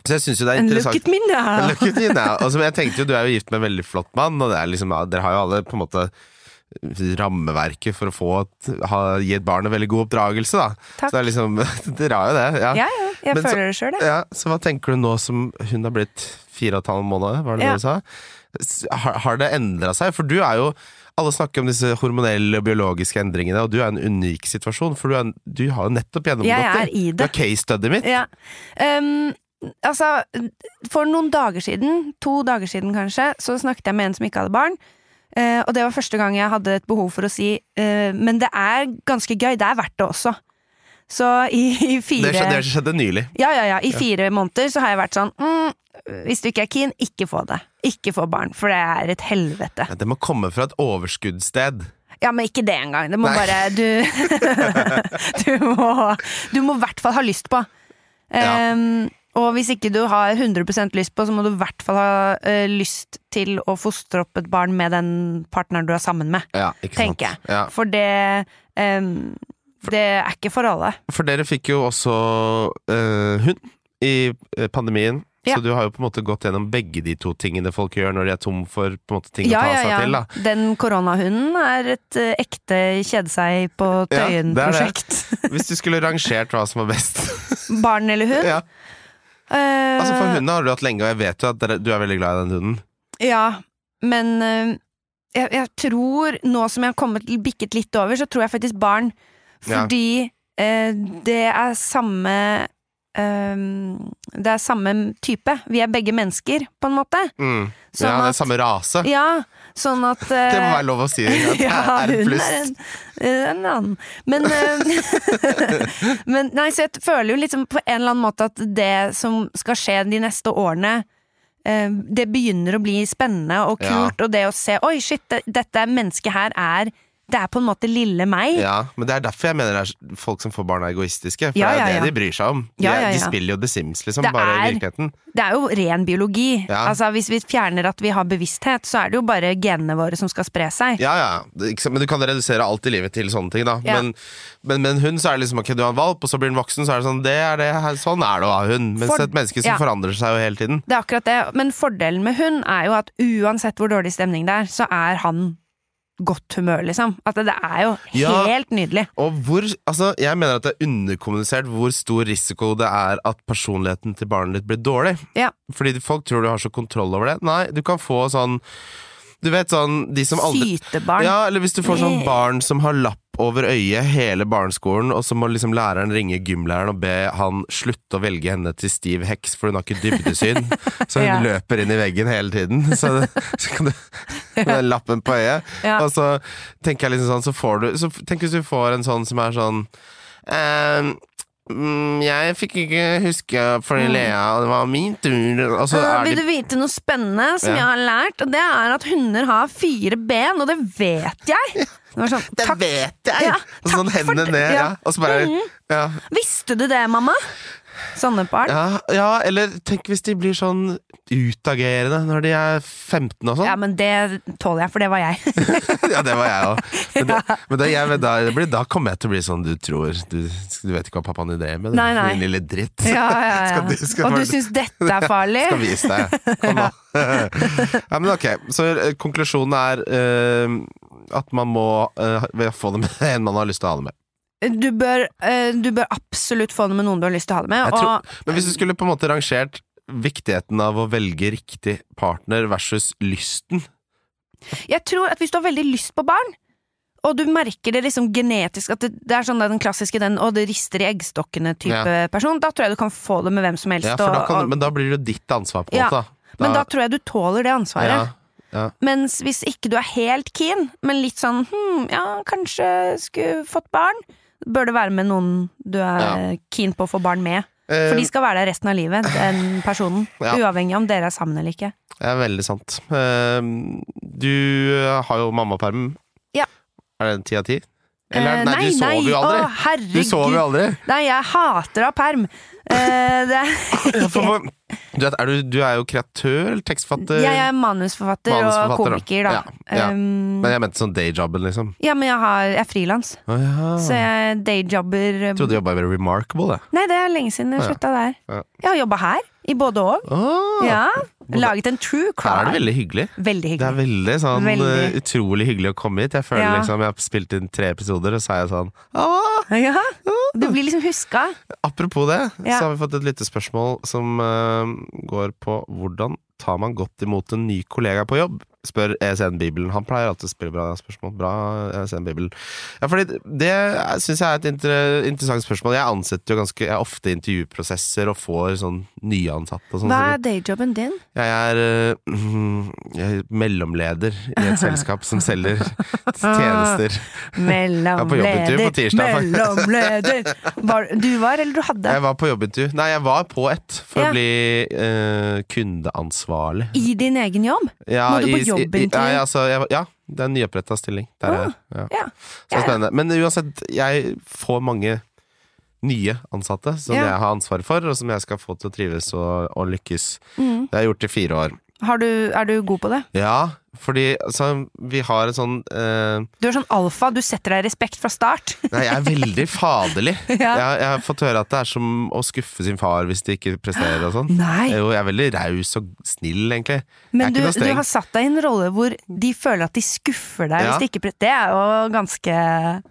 [SPEAKER 2] så jeg syns jo det er
[SPEAKER 3] And look at
[SPEAKER 2] interessant.
[SPEAKER 3] me now!
[SPEAKER 2] Look at me now. Altså, men jeg tenkte jo, Du er jo gift med en veldig flott mann, og det er liksom, ja, dere har jo alle på en måte eh, rammeverket for å få et, ha, gi et barn en veldig god oppdragelse. da Så
[SPEAKER 3] Takk.
[SPEAKER 2] det er liksom, Dere har jo det. Ja.
[SPEAKER 3] Ja, ja, jeg
[SPEAKER 2] Men så-
[SPEAKER 3] føler det sjøl, jeg.
[SPEAKER 2] Ja, så hva tenker du nå som hun har blitt fire og et halvt måned, var det
[SPEAKER 3] Ja.
[SPEAKER 2] det du sa? S- Har, har det endra seg? For du er jo Alle snakker om disse hormonelle og biologiske endringene, og du er i en unik situasjon, for du, er, du har jo nettopp
[SPEAKER 3] Jeg
[SPEAKER 2] gjennomgått
[SPEAKER 3] er
[SPEAKER 2] det.
[SPEAKER 3] i
[SPEAKER 2] Du
[SPEAKER 3] det.
[SPEAKER 2] er case-studyet mitt.
[SPEAKER 3] Ja. Um, altså, for noen dager siden, to dager siden kanskje, så snakket jeg med en som ikke hadde barn. eh, og det var første gang jeg hadde et behov for å si eh, Men det er ganske gøy. Det er verdt det også. Så i, i fire
[SPEAKER 2] Det skjedde, det skjedde nylig.
[SPEAKER 3] ja, ja, ja. I fire måneder så har jeg vært sånn mm, Hvis du ikke er keen, ikke få det. Ikke få barn, for det er et helvete.
[SPEAKER 2] Ja, det må komme fra et overskuddssted.
[SPEAKER 3] Ja, men ikke det engang. Det må
[SPEAKER 2] Nei.
[SPEAKER 3] bare Du Du må Du må i hvert fall ha lyst på.
[SPEAKER 2] Ja.
[SPEAKER 3] Ehm, og hvis ikke du har 100 lyst på, så må du i hvert fall ha eh, lyst til å fostre opp et barn med den partneren du er sammen med.
[SPEAKER 2] Ja, ikke
[SPEAKER 3] Tenker jeg.
[SPEAKER 2] sant? Ja.
[SPEAKER 3] For det ehm, Det er ikke for alle.
[SPEAKER 2] For dere fikk jo også eh, hund i eh, pandemien.
[SPEAKER 3] Ja.
[SPEAKER 2] Så du har jo på en måte gått gjennom begge de to tingene folk gjør når de er tom for på en måte, ting
[SPEAKER 3] Ja,
[SPEAKER 2] å ta
[SPEAKER 3] ja,
[SPEAKER 2] seg
[SPEAKER 3] ja.
[SPEAKER 2] til. da
[SPEAKER 3] Den koronahunden er et eh, ekte kjede seg på
[SPEAKER 2] Ja,
[SPEAKER 3] Tøyen-prosjekt.
[SPEAKER 2] Hvis du skulle rangert hva som var best
[SPEAKER 3] Barn eller hund?
[SPEAKER 2] ja.
[SPEAKER 3] Eh,
[SPEAKER 2] Altså For hundene har du hatt lenge, og jeg vet jo at dere- du er veldig glad i den hunden.
[SPEAKER 3] Ja, men eh, jeg, jeg tror, nå som jeg har kommet bikket litt over, så tror jeg faktisk barn.
[SPEAKER 2] Ja.
[SPEAKER 3] Fordi eh, det er samme eh, Det er samme type. Vi er begge mennesker, på en måte.
[SPEAKER 2] Mm.
[SPEAKER 3] Sånn
[SPEAKER 2] ja, det
[SPEAKER 3] at-
[SPEAKER 2] er samme rase.
[SPEAKER 3] Ja, sånn at eh,
[SPEAKER 2] Det må være lov å si. At det
[SPEAKER 3] ja,
[SPEAKER 2] er et
[SPEAKER 3] hun
[SPEAKER 2] pluss.
[SPEAKER 3] er en, en annen. Men, eh, men nei, så jeg føler jo liksom på en eller annen måte at det som skal skje de neste årene, eh, det begynner å bli spennende og
[SPEAKER 2] Ja.
[SPEAKER 3] kult, og det å se Oi, shit, det, dette mennesket her er Det er på en måte lille meg.
[SPEAKER 2] Ja, men det er derfor jeg mener det er folk som får barn er egoistiske. For
[SPEAKER 3] Ja,
[SPEAKER 2] det
[SPEAKER 3] ja,
[SPEAKER 2] er det
[SPEAKER 3] ja.
[SPEAKER 2] de bryr seg om. De,
[SPEAKER 3] Ja,
[SPEAKER 2] er-
[SPEAKER 3] ja,
[SPEAKER 2] de
[SPEAKER 3] ja.
[SPEAKER 2] spiller jo The Sims, liksom,
[SPEAKER 3] Det
[SPEAKER 2] bare i
[SPEAKER 3] er-
[SPEAKER 2] virkeligheten.
[SPEAKER 3] Det er jo ren biologi.
[SPEAKER 2] Ja.
[SPEAKER 3] Altså, hvis vi fjerner at vi har bevissthet, så er det jo bare genene våre som skal spre seg.
[SPEAKER 2] Ja, ja. Det- Ikke, sant, men du kan redusere alt i livet til sånne ting, da.
[SPEAKER 3] Ja.
[SPEAKER 2] Men, men, men hun, så er det liksom ok, du har en valp, og så blir den voksen, så er det sånn det er det, her- Sånn er det å ha hund. Mens
[SPEAKER 3] For-
[SPEAKER 2] et menneske som
[SPEAKER 3] ja.
[SPEAKER 2] forandrer seg jo hele tiden.
[SPEAKER 3] Det er akkurat det, men fordelen med hund er jo at uansett hvor dårlig stemning det er, så er han godt humør, liksom. At det er jo
[SPEAKER 2] Ja.
[SPEAKER 3] helt nydelig.
[SPEAKER 2] Og hvor, altså Jeg mener at det er underkommunisert hvor stor risiko det er at personligheten til barnet ditt blir dårlig.
[SPEAKER 3] Ja.
[SPEAKER 2] Fordi folk tror du har så kontroll over det. Nei, du kan få sånn Du vet sånn de som aldri
[SPEAKER 3] Sytebarn.
[SPEAKER 2] Ja, eller hvis du får sånn barn som har lapp over øyet hele barneskolen, og så må liksom læreren ringe gymlæreren og be han slutte å velge henne til stiv heks, for hun har ikke dybdesyn. Så hun
[SPEAKER 3] Ja.
[SPEAKER 2] løper inn i veggen hele tiden. Så, så kan du med den lappen på øyet.
[SPEAKER 3] Ja.
[SPEAKER 2] Og så tenker jeg liksom sånn, så får du så Tenk hvis du får en sånn som er sånn ehm, mm, jeg fikk ikke huske fordi Lea, det var min tur Og så
[SPEAKER 3] Øh,
[SPEAKER 2] er
[SPEAKER 3] Mm. vil
[SPEAKER 2] de
[SPEAKER 3] du vite noe spennende som
[SPEAKER 2] Ja.
[SPEAKER 3] jeg har lært? Og det er at hunder har fire ben, og det vet jeg! Det var sånn,
[SPEAKER 2] Det
[SPEAKER 3] takk.
[SPEAKER 2] vet jeg!
[SPEAKER 3] Ja,
[SPEAKER 2] og sånn
[SPEAKER 3] takk for
[SPEAKER 2] hendene
[SPEAKER 3] det.
[SPEAKER 2] ned, ja.
[SPEAKER 3] Ja. Mm-hmm.
[SPEAKER 2] Og så bare ja,
[SPEAKER 3] Visste du det, mamma? Sånne barn. Ja,
[SPEAKER 2] Ja, ja, eller tenk hvis de blir sånn utagerende når de er 15 og sånn. Ja,
[SPEAKER 3] men det tåler jeg, for det var jeg.
[SPEAKER 2] det var jeg òg. Men, det, men da, jeg, da, det blir, da kommer jeg til å bli sånn du tror Du, du vet ikke hva pappaen din drev med, du,
[SPEAKER 3] Nei, nei.
[SPEAKER 2] din lille dritt.
[SPEAKER 3] Ja, ja, ja.
[SPEAKER 2] Skal du- skal
[SPEAKER 3] og
[SPEAKER 2] bare-
[SPEAKER 3] du syns dette er farlig?
[SPEAKER 2] Skal vise deg. Kom nå. ja, men ok. Så eh, konklusjonen er eh, at man må eh, få det med en man har lyst til å ha det med.
[SPEAKER 3] Du bør, eh, du bør absolutt få det med noen du har lyst til å ha det med.
[SPEAKER 2] Jeg tror-
[SPEAKER 3] Og
[SPEAKER 2] Men hvis du skulle på en måte rangert viktigheten av å velge riktig partner versus lysten
[SPEAKER 3] jeg tror at hvis du har veldig lyst på barn, og du merker det liksom genetisk at det, det er sånn der den klassiske den 'og det rister i eggstokkene'-type person, da tror jeg du kan få det med hvem som helst.
[SPEAKER 2] ja, for da
[SPEAKER 3] og-
[SPEAKER 2] kan,
[SPEAKER 3] og,
[SPEAKER 2] Men da blir det jo ditt ansvar, på en
[SPEAKER 3] Ja,
[SPEAKER 2] måte. da.
[SPEAKER 3] men da tror jeg du tåler det ansvaret.
[SPEAKER 2] ja.
[SPEAKER 3] Mens hvis ikke du er helt keen, men litt sånn hm, ja, kanskje skulle fått barn, bør det være med noen du er keen på å få barn med.
[SPEAKER 2] Eh,
[SPEAKER 3] For de skal være der resten av livet, den personen.
[SPEAKER 2] Ja.
[SPEAKER 3] Uavhengig om dere er sammen eller ikke.
[SPEAKER 2] Det er veldig sant. Eh, Du eh, har jo mammaperm.
[SPEAKER 3] Ja. Eh,
[SPEAKER 2] Er det ti av ti? Eller, nei, du sover jo
[SPEAKER 3] Å,
[SPEAKER 2] aldri!
[SPEAKER 3] herregud.
[SPEAKER 2] Du sover jo aldri!
[SPEAKER 3] Nei, jeg hater å ha perm. Eh, det,
[SPEAKER 2] Ja, for- for- Du, vet, er du, du er jo kreatør eller tekstfatter?
[SPEAKER 3] jeg er manusforfatter,
[SPEAKER 2] Manusforfatter,
[SPEAKER 3] og komiker, da.
[SPEAKER 2] ja, ja.
[SPEAKER 3] Um,
[SPEAKER 2] Men jeg mente sånn dayjobben, liksom.
[SPEAKER 3] ja, men jeg, har, jeg er frilans,
[SPEAKER 2] Å ja.
[SPEAKER 3] så jeg dayjobber eh,
[SPEAKER 2] Jeg Ah. trodde du jobba med Remarkable, jeg.
[SPEAKER 3] Nei, det er lenge siden jeg
[SPEAKER 2] Ja.
[SPEAKER 3] slutta der.
[SPEAKER 2] Ja.
[SPEAKER 3] Jeg har jobba her, i både og.
[SPEAKER 2] Å,
[SPEAKER 3] Ja. Laget en true
[SPEAKER 2] Her er
[SPEAKER 3] crime.
[SPEAKER 2] det veldig hyggelig.
[SPEAKER 3] veldig
[SPEAKER 2] Det er
[SPEAKER 3] hyggelig.
[SPEAKER 2] veldig sånn
[SPEAKER 3] Veldig.
[SPEAKER 2] eh, utrolig hyggelig å komme hit. Jeg føler
[SPEAKER 3] Ja.
[SPEAKER 2] liksom jeg har spilt inn tre episoder, og så er jeg sånn Åh,
[SPEAKER 3] Ja, du blir liksom huska.
[SPEAKER 2] Apropos det,
[SPEAKER 3] Ja.
[SPEAKER 2] så har vi fått et lyttespørsmål som eh, går på hvordan tar man godt imot en ny kollega på jobb? Spør ESN Bibelen. Han pleier alltid å spille bra spørsmål. Bra, ESN Bibelen. Ja, fordi det syns jeg er et inter interessant spørsmål. Jeg ansetter jo ganske Jeg er ofte i intervjuprosesser og får sånn nyansatte og sånn.
[SPEAKER 3] Hva er dayjobben din?
[SPEAKER 2] Jeg er, eh, mm, jeg er mellomleder i et selskap som selger tjenester. jobbintervju på
[SPEAKER 3] Mellomleder,
[SPEAKER 2] tirsdag, faktisk.
[SPEAKER 3] mellomleder. Var, du var, eller du hadde?
[SPEAKER 2] Jeg var på jobbintervju. Nei, jeg var på ett for
[SPEAKER 3] Ja.
[SPEAKER 2] å bli eh, kundeansvarlig.
[SPEAKER 3] I din egen jobb?
[SPEAKER 2] Ja,
[SPEAKER 3] Må du på
[SPEAKER 2] i- i-
[SPEAKER 3] jobbintervju?
[SPEAKER 2] Nei, altså, jeg, var- ja, det er en nyoppretta stilling. Der er
[SPEAKER 3] Ah,
[SPEAKER 2] jeg. Ja.
[SPEAKER 3] ja.
[SPEAKER 2] Så
[SPEAKER 3] Ja.
[SPEAKER 2] spennende. Men uansett, jeg får mange nye ansatte som
[SPEAKER 3] Ja.
[SPEAKER 2] jeg har ansvaret for, og som jeg skal få til å trives og, og lykkes.
[SPEAKER 3] Mm.
[SPEAKER 2] Det har jeg gjort i fire år.
[SPEAKER 3] Har du, er du god på det?
[SPEAKER 2] Ja, fordi altså, vi har en sånn eh,
[SPEAKER 3] Du er sånn alfa, du setter deg i respekt fra start.
[SPEAKER 2] Nei, jeg er veldig faderlig.
[SPEAKER 3] Ja.
[SPEAKER 2] jeg, jeg har fått høre at det er som å skuffe sin far hvis de ikke presterer og sånn.
[SPEAKER 3] Nei,
[SPEAKER 2] Jo, jeg er veldig raus og snill, egentlig.
[SPEAKER 3] men
[SPEAKER 2] jeg
[SPEAKER 3] du,
[SPEAKER 2] er ikke noe
[SPEAKER 3] du
[SPEAKER 2] streng.
[SPEAKER 3] har satt deg i en rolle hvor de føler at de skuffer deg
[SPEAKER 2] Ja.
[SPEAKER 3] hvis de ikke pre- Det er jo ganske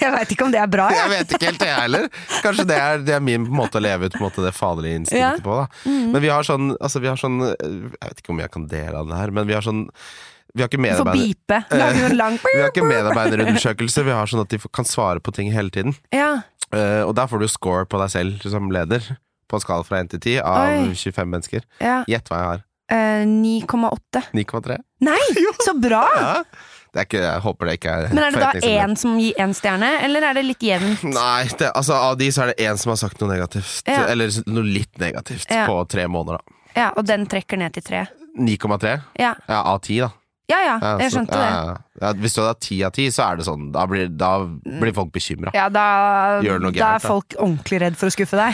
[SPEAKER 3] Jeg veit ikke om det er bra,
[SPEAKER 2] Jeg
[SPEAKER 3] jeg.
[SPEAKER 2] vet ikke helt, jeg heller. Kanskje det er, det er min måte å leve ut på en måte, det faderlige instinktet
[SPEAKER 3] Ja. Mm.
[SPEAKER 2] på. Da. Men vi har sånn, altså, vi har sånn Jeg vet ikke om jeg kan dele av det her, men vi har sånn Vi har ikke
[SPEAKER 3] Du får
[SPEAKER 2] medarbeider...
[SPEAKER 3] bipe. Lager du en lang
[SPEAKER 2] Vi har ikke medarbeiderundersøkelse, vi har sånn at de får- kan svare på ting hele tiden.
[SPEAKER 3] Ja.
[SPEAKER 2] Eh, og der får du score på deg selv som leder, på en skala fra 1 til 10 av
[SPEAKER 3] Oi.
[SPEAKER 2] 25 mennesker.
[SPEAKER 3] ja.
[SPEAKER 2] Gjett hva jeg har.
[SPEAKER 3] Eh, 9,8.
[SPEAKER 2] 9,3?
[SPEAKER 3] Nei, så bra!
[SPEAKER 2] Ja. Det er ikke, jeg håper det ikke er
[SPEAKER 3] Men er det da
[SPEAKER 2] forventningsbildet.
[SPEAKER 3] én som gir én stjerne, eller er det litt jevnt?
[SPEAKER 2] Nei, det, altså av de så er det én som har sagt noe negativt.
[SPEAKER 3] Ja.
[SPEAKER 2] Eller noe litt negativt
[SPEAKER 3] Ja.
[SPEAKER 2] på tre måneder, da.
[SPEAKER 3] Ja, og den trekker ned til tre.
[SPEAKER 2] 9,3
[SPEAKER 3] Ja.
[SPEAKER 2] ja, av 10, da.
[SPEAKER 3] ja ja,
[SPEAKER 2] Ja,
[SPEAKER 3] jeg
[SPEAKER 2] så-
[SPEAKER 3] skjønte
[SPEAKER 2] ja,
[SPEAKER 3] det.
[SPEAKER 2] ja, ja. Ja, hvis du hadde 10 av 10, så er det sånn. Da blir, da blir folk bekymra.
[SPEAKER 3] Ja, da,
[SPEAKER 2] Gjør det noe
[SPEAKER 3] da
[SPEAKER 2] gærent,
[SPEAKER 3] er
[SPEAKER 2] da.
[SPEAKER 3] folk ordentlig redd for å skuffe deg.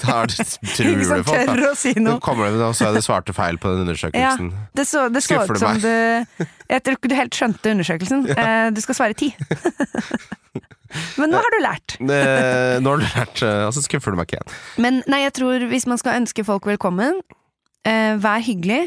[SPEAKER 2] Da er det- tror
[SPEAKER 3] Ikke
[SPEAKER 2] du
[SPEAKER 3] sant,
[SPEAKER 2] folk, da.
[SPEAKER 3] tør å si
[SPEAKER 2] Nå
[SPEAKER 3] noe.
[SPEAKER 2] kommer det med noe, så er det svarte feil på den undersøkelsen.
[SPEAKER 3] Det så, det så
[SPEAKER 2] Skuffer du
[SPEAKER 3] ut som
[SPEAKER 2] meg?
[SPEAKER 3] du Jeg tror ikke du helt skjønte undersøkelsen. Eh, Du skal svare ti. Men nå har du lært.
[SPEAKER 2] Eh, Nå har du lært eh, Altså, skuffer du meg ikke igjen.
[SPEAKER 3] Men nei, jeg tror hvis man skal ønske folk velkommen, eh, vær hyggelig.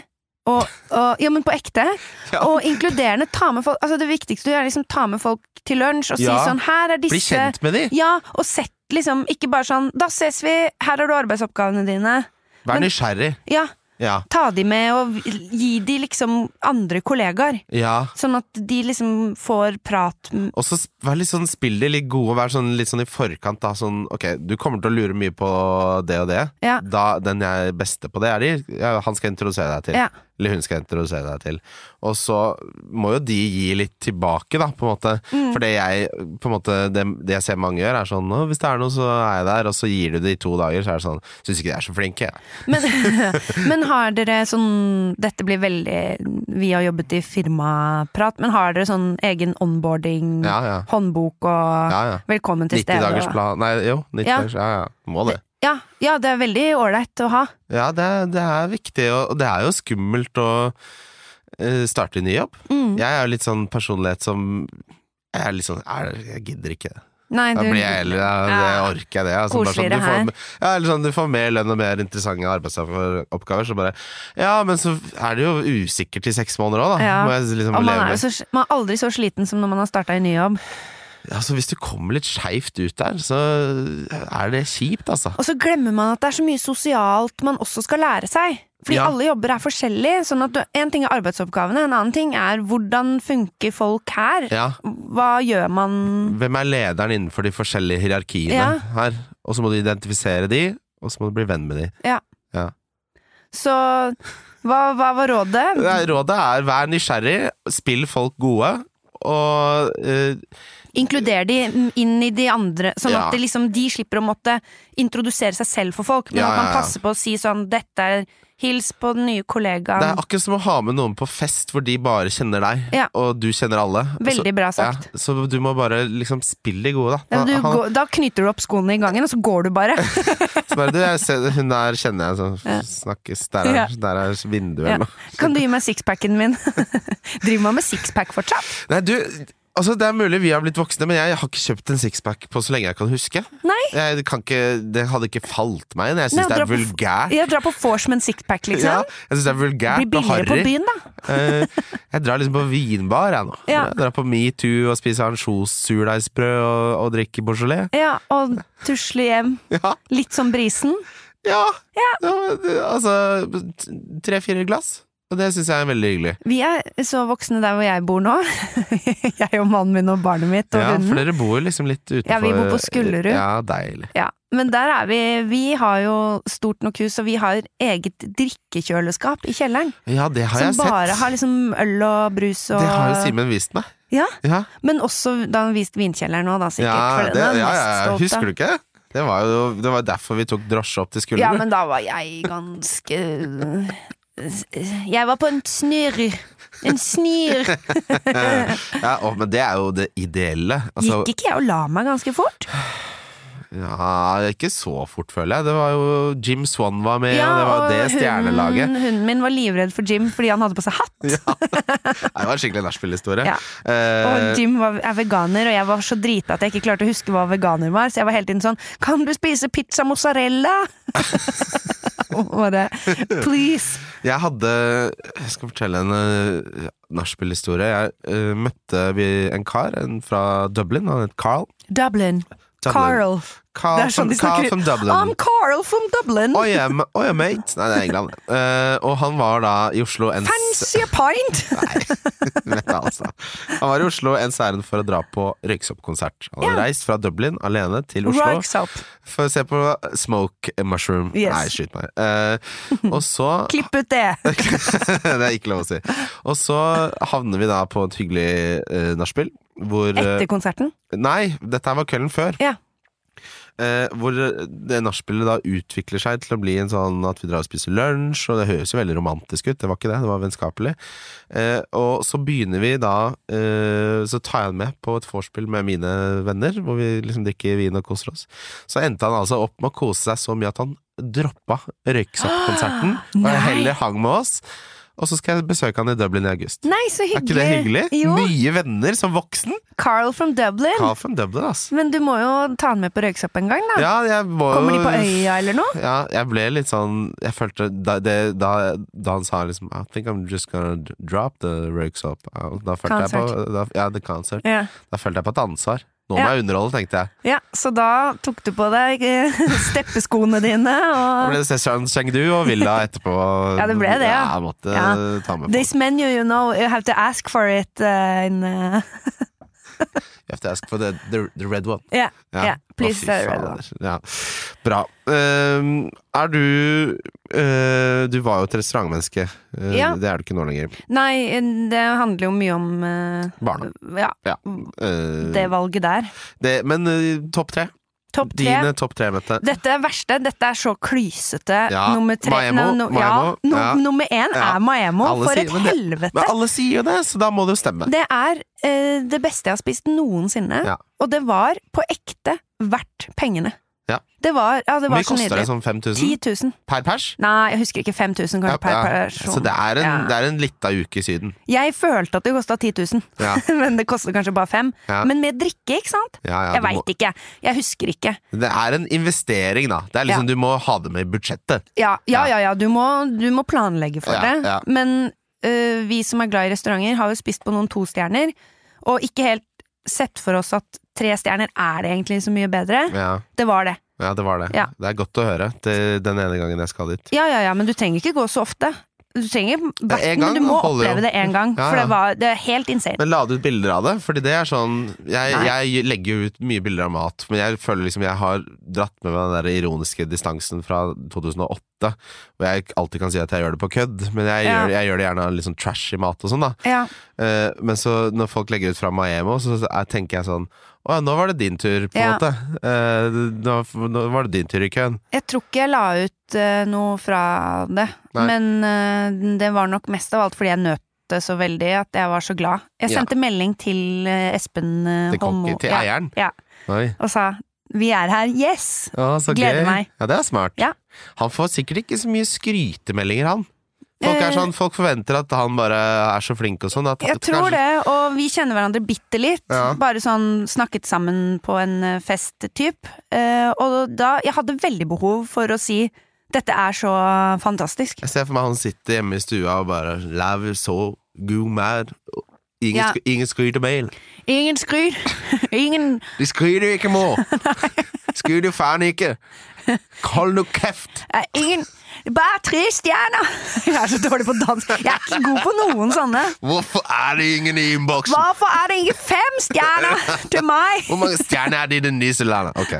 [SPEAKER 3] Og, og, ja, men på ekte.
[SPEAKER 2] Ja.
[SPEAKER 3] Og inkluderende. Ta med folk, altså det viktigste du gjør, er liksom ta med folk til lunsj og si
[SPEAKER 2] Ja.
[SPEAKER 3] sånn Her er
[SPEAKER 2] Bli
[SPEAKER 3] disse
[SPEAKER 2] kjent med de!
[SPEAKER 3] Ja, og sett liksom Ikke bare sånn Da ses vi, her har du arbeidsoppgavene dine.
[SPEAKER 2] Vær
[SPEAKER 3] Men-
[SPEAKER 2] nysgjerrig.
[SPEAKER 3] Ja.
[SPEAKER 2] Ja.
[SPEAKER 3] Ta de med og gi de liksom andre kollegaer.
[SPEAKER 2] ja.
[SPEAKER 3] Sånn at de liksom får prat m-
[SPEAKER 2] Og så sp- vær litt sånn, spill det litt gode, vær sånn, litt sånn i forkant, da. Sånn, ok, du kommer til å lure mye på det og det.
[SPEAKER 3] Ja.
[SPEAKER 2] Da, den jeg er beste på det, er de, ja, han skal jeg introdusere deg til.
[SPEAKER 3] Ja.
[SPEAKER 2] Eller hun skal jeg introdusere deg til. Og så må jo de gi litt tilbake, da, på en måte.
[SPEAKER 3] Mm.
[SPEAKER 2] For det jeg, på en måte, det, det jeg ser mange gjør, er sånn «Å, Hvis det er noe, så er jeg der. Og så gir du det i to dager, så er det sånn Syns ikke de er så flinke, jeg.
[SPEAKER 3] Men, men har dere sånn Dette blir veldig Vi har jobbet i firmaprat, men har dere sånn egen onboarding,
[SPEAKER 2] Ja, ja.
[SPEAKER 3] håndbok og
[SPEAKER 2] ja, ja.
[SPEAKER 3] velkommen til
[SPEAKER 2] 90
[SPEAKER 3] stedet?
[SPEAKER 2] dagers
[SPEAKER 3] og-
[SPEAKER 2] plan Nei, jo. 90
[SPEAKER 3] Ja.
[SPEAKER 2] dagers, ja, ja. Må det.
[SPEAKER 3] Ja, ja, det er veldig ålreit å ha.
[SPEAKER 2] Ja, det, er- det er viktig, og og det er jo skummelt å eh, starte en ny jobb.
[SPEAKER 3] Mm.
[SPEAKER 2] Jeg er jo litt sånn personlighet som jeg er litt sånn "Er- Jeg gidder ikke.
[SPEAKER 3] Nei,
[SPEAKER 2] Da
[SPEAKER 3] du-
[SPEAKER 2] blir jeg heller ja, Det
[SPEAKER 3] Ja.
[SPEAKER 2] orker jeg, det. Altså, bare sånn,
[SPEAKER 3] Koseligere
[SPEAKER 2] du,
[SPEAKER 3] her.
[SPEAKER 2] får, ja, eller sånn, du får mer lønn og mer interessante arbeidsoppgaver, så bare Ja, men så er det jo usikkert i seks måneder òg, da.
[SPEAKER 3] Ja.
[SPEAKER 2] Må jeg liksom
[SPEAKER 3] Og man
[SPEAKER 2] leve
[SPEAKER 3] er,
[SPEAKER 2] med.
[SPEAKER 3] jo så, man er aldri så sliten som når man har starta en ny jobb.
[SPEAKER 2] Ja, så hvis du kommer litt skeivt ut der, så er det kjipt, altså.
[SPEAKER 3] Og så glemmer man at det er så mye sosialt man også skal lære seg. Fordi
[SPEAKER 2] Ja.
[SPEAKER 3] alle jobber er forskjellige. Sånn at du, en ting er arbeidsoppgavene, en annen ting er hvordan funker folk her?
[SPEAKER 2] Ja.
[SPEAKER 3] Hva gjør man
[SPEAKER 2] Hvem er lederen innenfor de forskjellige hierarkiene
[SPEAKER 3] Ja.
[SPEAKER 2] her? Og så må du identifisere de, og så må du bli venn med de.
[SPEAKER 3] Så hva, hva var rådet?
[SPEAKER 2] Nei, Rådet er vær nysgjerrig, spill folk gode, og eh,
[SPEAKER 3] Inkluder de inn i de andre, sånn
[SPEAKER 2] Ja.
[SPEAKER 3] at det liksom, de slipper å måtte introdusere seg selv for folk. Men
[SPEAKER 2] Ja,
[SPEAKER 3] at man
[SPEAKER 2] ja, ja.
[SPEAKER 3] passer på å si sånn 'dette er hils på den nye
[SPEAKER 2] Det er
[SPEAKER 3] kollegaen'.
[SPEAKER 2] akkurat som å ha med noen på fest hvor de bare kjenner deg,
[SPEAKER 3] Ja.
[SPEAKER 2] og du kjenner alle.
[SPEAKER 3] Veldig bra
[SPEAKER 2] så, ja,
[SPEAKER 3] sagt.
[SPEAKER 2] så du må bare liksom spille de gode, da.
[SPEAKER 3] Ja, du,
[SPEAKER 2] Han- han-
[SPEAKER 3] går, da knyter du opp skoene i gangen, og så går du bare.
[SPEAKER 2] så bare, du, jeg ser, hun der kjenner jeg, så snakkes. Der er,
[SPEAKER 3] Ja.
[SPEAKER 2] der er vinduet
[SPEAKER 3] Ja.
[SPEAKER 2] eller noe.
[SPEAKER 3] Kan du gi meg sixpacken min? Driver man med sixpack fortsatt?
[SPEAKER 2] Nei, du, altså det er mulig vi har blitt voksne, men jeg har ikke kjøpt en sixpack på så lenge jeg kan huske.
[SPEAKER 3] Nei.
[SPEAKER 2] Jeg kan ikke, det hadde ikke falt meg inn. Jeg
[SPEAKER 3] Nei,
[SPEAKER 2] syns det er
[SPEAKER 3] dra på-
[SPEAKER 2] vulgært.
[SPEAKER 3] Jeg drar på vors med en sixpack, liksom.
[SPEAKER 2] Ja, jeg syns det er
[SPEAKER 3] Blir
[SPEAKER 2] vulgært og
[SPEAKER 3] billigere på
[SPEAKER 2] harry.
[SPEAKER 3] byen, da.
[SPEAKER 2] Eh, jeg drar liksom på vinbar, jeg nå.
[SPEAKER 3] Ja.
[SPEAKER 2] Jeg drar på metoo og spiser ansjos-surdeigsbrød og, og drikker Beaujolais.
[SPEAKER 3] Ja, Og tusle hjem.
[SPEAKER 2] Ja,
[SPEAKER 3] Litt som brisen.
[SPEAKER 2] ja. Ja, det- Altså tre-fire glass. Og det syns jeg er veldig hyggelig.
[SPEAKER 3] Vi er så voksne der hvor jeg bor nå. jeg og mannen min og barnet mitt og
[SPEAKER 2] Ja, for
[SPEAKER 3] hunden.
[SPEAKER 2] dere bor jo liksom litt utenfor
[SPEAKER 3] Ja, vi bor på Skullerud.
[SPEAKER 2] Ja, deilig.
[SPEAKER 3] Ja, Men der er vi Vi har jo stort nok hus, og vi har eget drikkekjøleskap i kjelleren.
[SPEAKER 2] Ja, det har
[SPEAKER 3] Som
[SPEAKER 2] jeg sett.
[SPEAKER 3] bare har liksom øl og brus og
[SPEAKER 2] Det har jo Simen vist meg.
[SPEAKER 3] Ja,
[SPEAKER 2] Ja,
[SPEAKER 3] Men også da han viste vinkjelleren òg, da, sikkert.
[SPEAKER 2] ja,
[SPEAKER 3] for
[SPEAKER 2] det,
[SPEAKER 3] den er
[SPEAKER 2] ja,
[SPEAKER 3] mest
[SPEAKER 2] ja.
[SPEAKER 3] stolt av.
[SPEAKER 2] Husker du ikke? Det var jo det var derfor vi tok drosje opp til
[SPEAKER 3] Ja,
[SPEAKER 2] Skullerud.
[SPEAKER 3] men da var jeg ganske Jeg var på en snurr. En snir.
[SPEAKER 2] Ja, å, men det er jo det ideelle. Altså,
[SPEAKER 3] Gikk ikke jeg og la meg ganske fort?
[SPEAKER 2] Ja, ikke så fort, føler jeg. Det var jo Jim Swan var med, og Eh, det var jo det stjernelaget.
[SPEAKER 3] hunden, hunden min var livredd for Jim fordi han hadde på seg hatt.
[SPEAKER 2] Nei, Det var en skikkelig nachspiel-historie.
[SPEAKER 3] Ja. Og
[SPEAKER 2] Eh,
[SPEAKER 3] Jim var, er veganer, og jeg var så drita at jeg ikke klarte å huske hva veganer var. Så jeg var hele tiden sånn Kan du spise pizza mozzarella? Og Bare please.
[SPEAKER 2] jeg hadde Jeg skal fortelle en uh, nachspiel-historie. Jeg eh, møtte vi en kar en fra Dublin, han het Carl.
[SPEAKER 3] Dublin.
[SPEAKER 2] Dublin.
[SPEAKER 3] Carl.
[SPEAKER 2] Carl,
[SPEAKER 3] Det er sånn
[SPEAKER 2] from,
[SPEAKER 3] de snakker.
[SPEAKER 2] Carl from Dublin.
[SPEAKER 3] I'm Carl from Dublin.
[SPEAKER 2] Oi, eh, ma- oi, eh, mate. Nei, det er England. Eh, og han var da i Oslo en
[SPEAKER 3] Fancy a pint!
[SPEAKER 2] Vet jeg, altså. Han var i Oslo ens ærend for å dra på Røyksopp-konsert. Han hadde
[SPEAKER 3] Ja.
[SPEAKER 2] reist fra Dublin alene til Oslo.
[SPEAKER 3] Rikes up.
[SPEAKER 2] For å se på Smoke Mushroom.
[SPEAKER 3] Yes.
[SPEAKER 2] Nei, skyt meg. Eh, og så
[SPEAKER 3] Klipp ut det!
[SPEAKER 2] Det er ikke lov å si. Og så havner vi da på et hyggelig eh, nachspiel. Hvor eh,
[SPEAKER 3] Etter konserten?
[SPEAKER 2] Nei, dette her var kvelden før.
[SPEAKER 3] Ja.
[SPEAKER 2] Eh, hvor det nachspielet da utvikler seg til å bli en sånn at vi drar og spiser lunsj, og det høres jo veldig romantisk ut, det var ikke det, det var vennskapelig. Eh, og så begynner vi da eh, Så tar jeg han med på et vorspiel med mine venner, hvor vi liksom drikker vin og koser oss. Så endte han altså opp med å kose seg så mye at han droppa Røyksopp-konserten, og
[SPEAKER 3] Ah, Nei.
[SPEAKER 2] heller hang med oss. Og så skal jeg besøke han i Dublin i august.
[SPEAKER 3] Nei, så
[SPEAKER 2] Er
[SPEAKER 3] hyggelig!
[SPEAKER 2] ikke det hyggelig?
[SPEAKER 3] Jo,
[SPEAKER 2] Nye venner som voksen!
[SPEAKER 3] Carl from Dublin.
[SPEAKER 2] Carl from Dublin, ass.
[SPEAKER 3] Men du må jo ta han med på Røyksopp en gang, da.
[SPEAKER 2] Ja, jeg må jo-
[SPEAKER 3] Kommer de på øya eller noe?
[SPEAKER 2] Ja, jeg ble litt sånn Jeg følte da, det, da, da han sa liksom I think I'm just gonna drop the røyks up Da følte jeg på
[SPEAKER 3] Concert.
[SPEAKER 2] da, Ja, the concert
[SPEAKER 3] Ja.
[SPEAKER 2] Da følte jeg på et ansvar Nå må
[SPEAKER 3] Ja.
[SPEAKER 2] jeg underholde, tenkte jeg.
[SPEAKER 3] Ja, så da tok du på deg eh, steppeskoene dine
[SPEAKER 2] Da
[SPEAKER 3] og
[SPEAKER 2] ble det Session Chengdu og Villa etterpå.
[SPEAKER 3] Ja, det ble det, ja.
[SPEAKER 2] jeg måtte
[SPEAKER 3] Ja.
[SPEAKER 2] eh, ta med folk.
[SPEAKER 3] This menu, you know, you have to ask for it eh, in uh,
[SPEAKER 2] You have to ask for the, the, the red one.
[SPEAKER 3] yeah,
[SPEAKER 2] Ja.
[SPEAKER 3] yeah, please.
[SPEAKER 2] Å, fy
[SPEAKER 3] sir.
[SPEAKER 2] fader. Ja. Bra. Ehm, er du eh, Du var jo et restaurantmenneske. Eh,
[SPEAKER 3] Ja.
[SPEAKER 2] Det er du ikke nå lenger.
[SPEAKER 3] Nei, det handler jo mye om eh,
[SPEAKER 2] Barna.
[SPEAKER 3] ja,
[SPEAKER 2] Ja. Eh,
[SPEAKER 3] Mm. det valget der.
[SPEAKER 2] det, men eh, topp tre.
[SPEAKER 3] Topp tre.
[SPEAKER 2] Dine topp tre, Mette.
[SPEAKER 3] Dette er verste. Dette er så klysete.
[SPEAKER 2] Ja,
[SPEAKER 3] Nummer tre
[SPEAKER 2] Maemo,
[SPEAKER 3] nei, no,
[SPEAKER 2] Maemo,
[SPEAKER 3] ja, no,
[SPEAKER 2] ja.
[SPEAKER 3] Nummer én
[SPEAKER 2] Ja.
[SPEAKER 3] er Maemo.
[SPEAKER 2] Alle
[SPEAKER 3] For
[SPEAKER 2] sier-
[SPEAKER 3] et
[SPEAKER 2] men det-
[SPEAKER 3] helvete!
[SPEAKER 2] Men alle sier jo det, så da må det jo stemme.
[SPEAKER 3] Det er eh, det beste jeg har spist noensinne.
[SPEAKER 2] Ja.
[SPEAKER 3] Og det var på ekte verdt pengene.
[SPEAKER 2] Ja.
[SPEAKER 3] Det var, ja, det
[SPEAKER 2] Hvor
[SPEAKER 3] var
[SPEAKER 2] mye
[SPEAKER 3] så
[SPEAKER 2] koster det?
[SPEAKER 3] nydelig.
[SPEAKER 2] Sånn 5000
[SPEAKER 3] 10 000.
[SPEAKER 2] per pers?
[SPEAKER 3] Nei, jeg husker ikke. 5000 kanskje per
[SPEAKER 2] Ja, ja.
[SPEAKER 3] person.
[SPEAKER 2] Så det er en,
[SPEAKER 3] Ja.
[SPEAKER 2] det er en lita uke i Syden.
[SPEAKER 3] Jeg følte at det kosta 10 000,
[SPEAKER 2] Ja,
[SPEAKER 3] men det kostet kanskje bare 5
[SPEAKER 2] Ja.
[SPEAKER 3] Men med drikke, ikke sant?
[SPEAKER 2] ja, ja,
[SPEAKER 3] Jeg
[SPEAKER 2] du må,
[SPEAKER 3] veit ikke. Jeg husker ikke.
[SPEAKER 2] det er en investering, da. Det er liksom, Du må ha det med i budsjettet.
[SPEAKER 3] Ja, ja,
[SPEAKER 2] Ja.
[SPEAKER 3] ja, ja. Du, må, du må planlegge for
[SPEAKER 2] Ja,
[SPEAKER 3] det.
[SPEAKER 2] ja.
[SPEAKER 3] Men øh, vi som er glad i restauranter, har jo spist på noen tostjerner, og ikke helt sett for oss at tre stjerner er det egentlig så mye bedre.
[SPEAKER 2] Ja,
[SPEAKER 3] Det var det.
[SPEAKER 2] ja det var det.
[SPEAKER 3] Ja.
[SPEAKER 2] Det er godt å høre det, den ene gangen jeg skal dit.
[SPEAKER 3] Ja, ja, ja, men du trenger ikke gå så ofte. Du trenger
[SPEAKER 2] en
[SPEAKER 3] hvert,
[SPEAKER 2] gang
[SPEAKER 3] men du må
[SPEAKER 2] holder jo.
[SPEAKER 3] oppleve det én gang,
[SPEAKER 2] Ja,
[SPEAKER 3] for
[SPEAKER 2] ja.
[SPEAKER 3] det, var, det er helt insane.
[SPEAKER 2] Men la du ut bilder av det? Fordi det er sånn jeg,
[SPEAKER 3] Nei.
[SPEAKER 2] jeg legger jo ut mye bilder av mat, men jeg føler liksom jeg har dratt med meg den der ironiske distansen fra 2008, hvor jeg alltid kan si at jeg gjør det på kødd, men jeg,
[SPEAKER 3] Ja.
[SPEAKER 2] gjør, jeg gjør det gjerne av litt sånn trashy mat og sånn, da.
[SPEAKER 3] Ja,
[SPEAKER 2] Eh, men så når folk legger ut fra Maemo, så så er- tenker jeg sånn Å ja, nå var det din tur, på en
[SPEAKER 3] Ja.
[SPEAKER 2] måte. Eh, nå, nå var det din tur i køen.
[SPEAKER 3] jeg tror ikke jeg la ut eh, noe fra det,
[SPEAKER 2] Nei.
[SPEAKER 3] men eh, det var nok mest av alt fordi jeg nøt det så veldig at jeg var så glad. Jeg
[SPEAKER 2] Ja.
[SPEAKER 3] sendte melding til eh, Espen eh,
[SPEAKER 2] Til,
[SPEAKER 3] Holmo
[SPEAKER 2] kokken, til
[SPEAKER 3] ja,
[SPEAKER 2] eieren.
[SPEAKER 3] ja,
[SPEAKER 2] Oi.
[SPEAKER 3] og sa 'vi er her, yes'!
[SPEAKER 2] Ja, så
[SPEAKER 3] Gleder
[SPEAKER 2] gøy.
[SPEAKER 3] meg.
[SPEAKER 2] Ja, det er smart.
[SPEAKER 3] Ja.
[SPEAKER 2] Han får sikkert ikke så mye skrytemeldinger, han. Folk, er
[SPEAKER 3] Eh,
[SPEAKER 2] sånn, folk forventer at han bare er så flink og sånn. At
[SPEAKER 3] Jeg
[SPEAKER 2] at
[SPEAKER 3] tror
[SPEAKER 2] kanskje-
[SPEAKER 3] det, og vi kjenner hverandre bitte litt.
[SPEAKER 2] Ja.
[SPEAKER 3] Bare sånn snakket sammen på en eh, fest-typ. Eh, og da Jeg hadde veldig behov for å si 'dette er så fantastisk'.
[SPEAKER 2] Jeg ser for meg han sitter hjemme i stua og bare Lever så god mat. Ingen,
[SPEAKER 3] Ja.
[SPEAKER 2] sk ingen skryter mer.
[SPEAKER 3] Ingen skryt. Ingen
[SPEAKER 2] De skryter ikke, mor! skryter faen ikke! Hold nå kjeft!
[SPEAKER 3] eh, Ingen Bare tre stjerner! Jeg er så dårlig på dansk. Jeg er ikke god på noen sånne.
[SPEAKER 2] Hvorfor er det ingen i innboksen?
[SPEAKER 3] Hvorfor er det ikke fem stjerner til meg?
[SPEAKER 2] Hvor mange stjerner er det i det nye landet? Ok.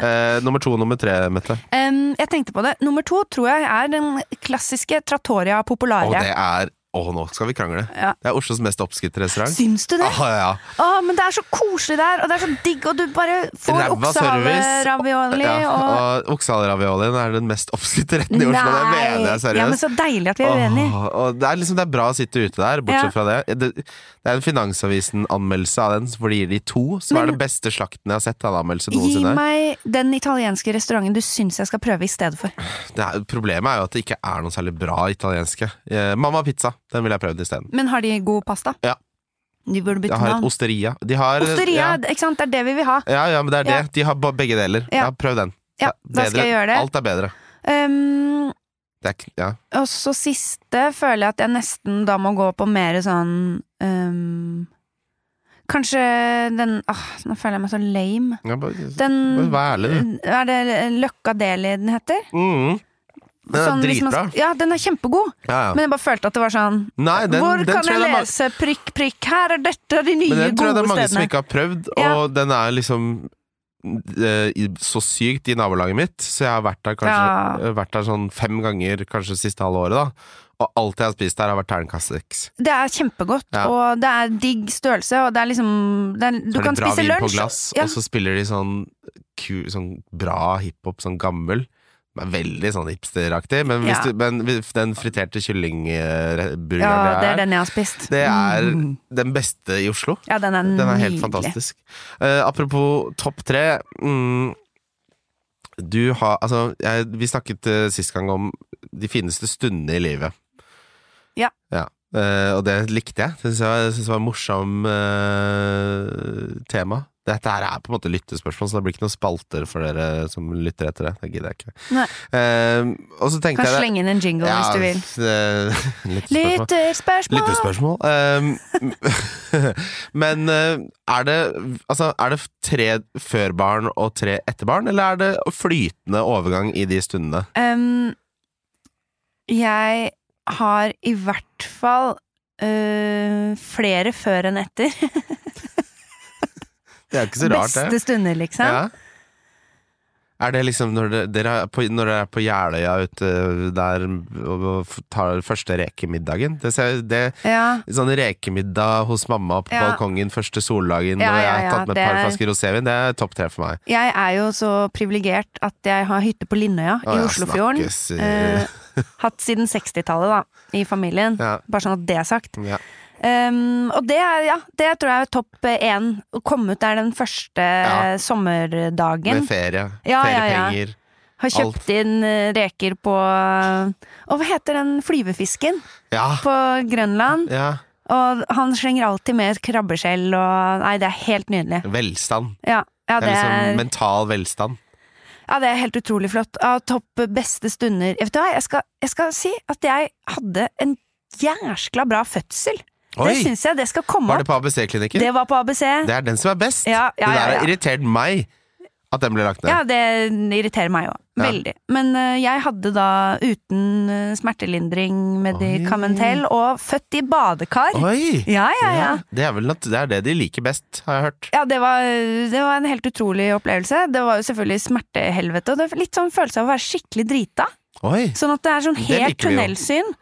[SPEAKER 2] Eh, nummer to og nummer tre, Mette.
[SPEAKER 3] Em, jeg tenkte på det. Nummer to tror jeg er den klassiske Trattoria
[SPEAKER 2] Og
[SPEAKER 3] Popolare.
[SPEAKER 2] det er Å, nå skal vi krangle.
[SPEAKER 3] Ja.
[SPEAKER 2] Det er Oslos mest oppskrytte restaurant.
[SPEAKER 3] Syns du det?
[SPEAKER 2] Ah, ja, ja.
[SPEAKER 3] Å, men det er så koselig der, og det er så digg, og du bare får
[SPEAKER 2] Ræva service.
[SPEAKER 3] oksehaleravioli
[SPEAKER 2] Ja,
[SPEAKER 3] og
[SPEAKER 2] og oksehaleraviolien er den mest oppskrytte retten i Oslo. Det mener jeg seriøst.
[SPEAKER 3] Ja, men så deilig at vi er uenige.
[SPEAKER 2] Åh, og det, er liksom, det er bra å sitte ute der, bortsett
[SPEAKER 3] Ja.
[SPEAKER 2] fra det. det. Det er en Finansavisen-anmeldelse av den, hvor de gir de to. Som er
[SPEAKER 3] Men-
[SPEAKER 2] den beste slakten jeg har sett av en anmeldelse
[SPEAKER 3] Gi
[SPEAKER 2] noensinne.
[SPEAKER 3] meg den italienske restauranten du syns jeg skal prøve i stedet for.
[SPEAKER 2] Det er, problemet er jo at det ikke er noe særlig bra italienske. Eh, Mamma Pizza, den ville jeg prøvd isteden.
[SPEAKER 3] Men har de god pasta?
[SPEAKER 2] Ja.
[SPEAKER 3] De burde
[SPEAKER 2] De
[SPEAKER 3] bytte
[SPEAKER 2] har et
[SPEAKER 3] navn.
[SPEAKER 2] osteria. De har,
[SPEAKER 3] Osteria,
[SPEAKER 2] Ja.
[SPEAKER 3] ikke sant? Det er det vi vil ha.
[SPEAKER 2] Ja, ja, men det er det. De
[SPEAKER 3] Ja.
[SPEAKER 2] har ba- begge deler.
[SPEAKER 3] Ja.
[SPEAKER 2] Ja, prøv den.
[SPEAKER 3] Ja,
[SPEAKER 2] Det er
[SPEAKER 3] da skal jeg gjøre det.
[SPEAKER 2] Alt er bedre.
[SPEAKER 3] Um,
[SPEAKER 2] Det er, ikke- ja.
[SPEAKER 3] og så siste føler jeg at jeg nesten da må gå på mer sånn um, Kanskje den Åh, nå føler jeg meg så lame.
[SPEAKER 2] Ja, bare, bare
[SPEAKER 3] Den
[SPEAKER 2] vær ærlig, du.
[SPEAKER 3] Er det Løkka Deli den heter?
[SPEAKER 2] Mm. Den er
[SPEAKER 3] Sånn hvis man-
[SPEAKER 2] dritbra.
[SPEAKER 3] Ja, den er kjempegod,
[SPEAKER 2] Ja, ja.
[SPEAKER 3] men jeg bare følte at det var sånn
[SPEAKER 2] Nei, den,
[SPEAKER 3] Hvor
[SPEAKER 2] den
[SPEAKER 3] kan
[SPEAKER 2] tror
[SPEAKER 3] jeg
[SPEAKER 2] det er ma-
[SPEAKER 3] lese prikk, prikk? Her er dette de nye,
[SPEAKER 2] Men den tror jeg det
[SPEAKER 3] gode
[SPEAKER 2] er mange som
[SPEAKER 3] stedene.
[SPEAKER 2] ikke har prøvd, og
[SPEAKER 3] Ja.
[SPEAKER 2] den er liksom eh, i- så sykt i nabolaget mitt, så jeg har vært der kanskje
[SPEAKER 3] Ja.
[SPEAKER 2] eh, Vært der sånn fem ganger kanskje det siste halve året, da. Og alt jeg har spist der, har vært terningkast seks.
[SPEAKER 3] Det er kjempegodt,
[SPEAKER 2] Ja.
[SPEAKER 3] og det er digg størrelse, og det er liksom det er, Du
[SPEAKER 2] Så er det
[SPEAKER 3] kan
[SPEAKER 2] bra
[SPEAKER 3] spise
[SPEAKER 2] vin på
[SPEAKER 3] lunsj.
[SPEAKER 2] glass,
[SPEAKER 3] ja.
[SPEAKER 2] og så spiller de sånn, ku, sånn bra hiphop, sånn gammel. Den er Veldig sånn hipsteraktig, men, hvis
[SPEAKER 3] Ja.
[SPEAKER 2] du, men hvis den friterte kyllingburgeren det
[SPEAKER 3] Ja, det er
[SPEAKER 2] er,
[SPEAKER 3] den jeg har spist.
[SPEAKER 2] det er
[SPEAKER 3] Mm.
[SPEAKER 2] den beste i Oslo.
[SPEAKER 3] Ja, den er nydelig.
[SPEAKER 2] Den er helt fantastisk. Eh, apropos topp tre. Mm, du har Altså, jeg, vi snakket eh, sist gang om de fineste stundene i livet.
[SPEAKER 3] Ja.
[SPEAKER 2] Eh, og det likte jeg. Det synes jeg, jeg synes det var en morsom eh, tema. Dette her er på en måte lyttespørsmål, så det blir ikke noen spalter for dere som lytter etter det. Det gidder jeg ikke.
[SPEAKER 3] Nei.
[SPEAKER 2] Eh, og så tenkte jeg
[SPEAKER 3] Kan
[SPEAKER 2] det-
[SPEAKER 3] slenge inn en jingle hvis du vil.
[SPEAKER 2] eh, lyttespørsmål.
[SPEAKER 3] Lytterspørsmål!
[SPEAKER 2] Lyttespørsmål. Um, men eh, er det, altså, er det tre før barn og tre etter barn, eller er det flytende overgang i de stundene?
[SPEAKER 3] Um, jeg har i hvert fall øh, flere før enn etter.
[SPEAKER 2] Det er jo ikke så rart, det.
[SPEAKER 3] Beste stunder, liksom.
[SPEAKER 2] Ja. Er det liksom når dere, dere er på, når dere er på Jeløya ute der og og tar første rekemiddagen? Det ser, det,
[SPEAKER 3] Ja.
[SPEAKER 2] sånn rekemiddag hos mamma på
[SPEAKER 3] Ja.
[SPEAKER 2] balkongen første soldagen,
[SPEAKER 3] Ja,
[SPEAKER 2] og jeg
[SPEAKER 3] ja,
[SPEAKER 2] har
[SPEAKER 3] ja,
[SPEAKER 2] tatt med
[SPEAKER 3] det
[SPEAKER 2] et par
[SPEAKER 3] er-
[SPEAKER 2] flasker rosévin, det er topp tre for meg.
[SPEAKER 3] Jeg er jo så privilegert at jeg har hytte på Linnøya
[SPEAKER 2] Å,
[SPEAKER 3] i
[SPEAKER 2] ja,
[SPEAKER 3] Oslofjorden.
[SPEAKER 2] snakkes, eh,
[SPEAKER 3] Eh, hatt siden 60-tallet, da, i familien.
[SPEAKER 2] Ja.
[SPEAKER 3] Bare sånn at det er sagt.
[SPEAKER 2] ja.
[SPEAKER 3] Um, og det, er, ja, det tror jeg er topp eh, én. Å komme ut der den første
[SPEAKER 2] Ja.
[SPEAKER 3] sommerdagen.
[SPEAKER 2] Med ferie.
[SPEAKER 3] Ja, ja, ja.
[SPEAKER 2] Feriepenger.
[SPEAKER 3] Har kjøpt inn eh, reker på Og hva heter den flyvefisken
[SPEAKER 2] Ja.
[SPEAKER 3] på Grønland?
[SPEAKER 2] ja.
[SPEAKER 3] Og han slenger alltid med et krabbeskjell og Nei, det er helt nydelig.
[SPEAKER 2] Velstand.
[SPEAKER 3] Ja, ja,
[SPEAKER 2] Det
[SPEAKER 3] det,
[SPEAKER 2] er
[SPEAKER 3] er,
[SPEAKER 2] liksom mental velstand.
[SPEAKER 3] ja, det er helt utrolig flott. Av topp beste stunder Vet du hva, jeg skal, jeg skal si at jeg hadde en jæskla bra fødsel. Det
[SPEAKER 2] Oi!
[SPEAKER 3] syns jeg det skal komme
[SPEAKER 2] Var det
[SPEAKER 3] opp.
[SPEAKER 2] på ABC-klinikken?
[SPEAKER 3] Det var på ABC.
[SPEAKER 2] Det er den som er best!
[SPEAKER 3] Ja,
[SPEAKER 2] det
[SPEAKER 3] ja,
[SPEAKER 2] der
[SPEAKER 3] ja,
[SPEAKER 2] har
[SPEAKER 3] ja.
[SPEAKER 2] irritert meg at den ble lagt ned.
[SPEAKER 3] Ja, det irriterer meg òg.
[SPEAKER 2] Ja.
[SPEAKER 3] Veldig. Men eh, jeg hadde da uten eh, smertelindring, medikamentell, og født i badekar.
[SPEAKER 2] Oi!
[SPEAKER 3] Ja, ja, ja.
[SPEAKER 2] Ja, Det, er vel nat det er det de liker best, har jeg hørt.
[SPEAKER 3] Ja, det var, det var en helt utrolig opplevelse. Det var jo selvfølgelig smertehelvete, og det er litt sånn følelse av å være skikkelig drita.
[SPEAKER 2] Oi!
[SPEAKER 3] Sånn at det er sånn
[SPEAKER 2] Det
[SPEAKER 3] helt
[SPEAKER 2] liker vi jo.
[SPEAKER 3] tunnelsyn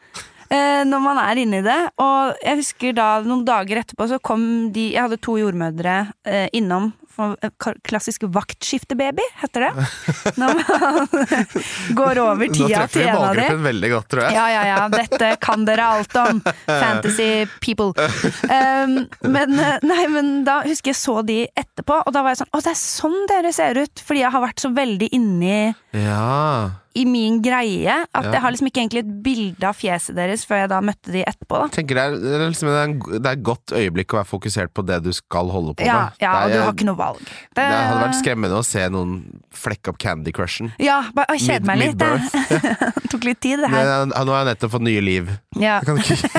[SPEAKER 3] eh, når man er inni det. Og jeg husker da noen dager etterpå så kom de Jeg hadde to jordmødre eh, innom. for- eh, ka- Klassisk vaktskiftebaby, heter det. Når man går over
[SPEAKER 2] Nå
[SPEAKER 3] tida
[SPEAKER 2] treffer
[SPEAKER 3] til
[SPEAKER 2] vi
[SPEAKER 3] en av de.
[SPEAKER 2] målgruppen veldig godt, tror jeg.
[SPEAKER 3] Ja, ja, ja. Dette kan dere alt om. Fantasy people. Um, men, eh, nei, men da husker jeg så de etterpå, og da var jeg sånn Å, det er sånn dere ser ut! Fordi jeg har vært så veldig inni
[SPEAKER 2] Ja.
[SPEAKER 3] i min greie at
[SPEAKER 2] Ja.
[SPEAKER 3] jeg har liksom ikke egentlig et bilde av fjeset deres før jeg da møtte de etterpå, da.
[SPEAKER 2] Tenker det, er, det, er liksom, det, er en, go- det er et godt øyeblikk å være fokusert på det du skal holde på
[SPEAKER 3] Ja,
[SPEAKER 2] med.
[SPEAKER 3] ja, og
[SPEAKER 2] det,
[SPEAKER 3] du
[SPEAKER 2] er-
[SPEAKER 3] har ikke noe valg. Det,
[SPEAKER 2] det hadde vært skremmende å se noen flekke opp Candy Crushen.
[SPEAKER 3] Ja, bare å,
[SPEAKER 2] Mid-
[SPEAKER 3] kjede meg litt.
[SPEAKER 2] mid-birth.
[SPEAKER 3] Det tok litt tid, det
[SPEAKER 2] Men
[SPEAKER 3] her.
[SPEAKER 2] han- han- Nå har jeg nettopp fått nye liv.
[SPEAKER 3] Ja.
[SPEAKER 2] Jeg kan ikke,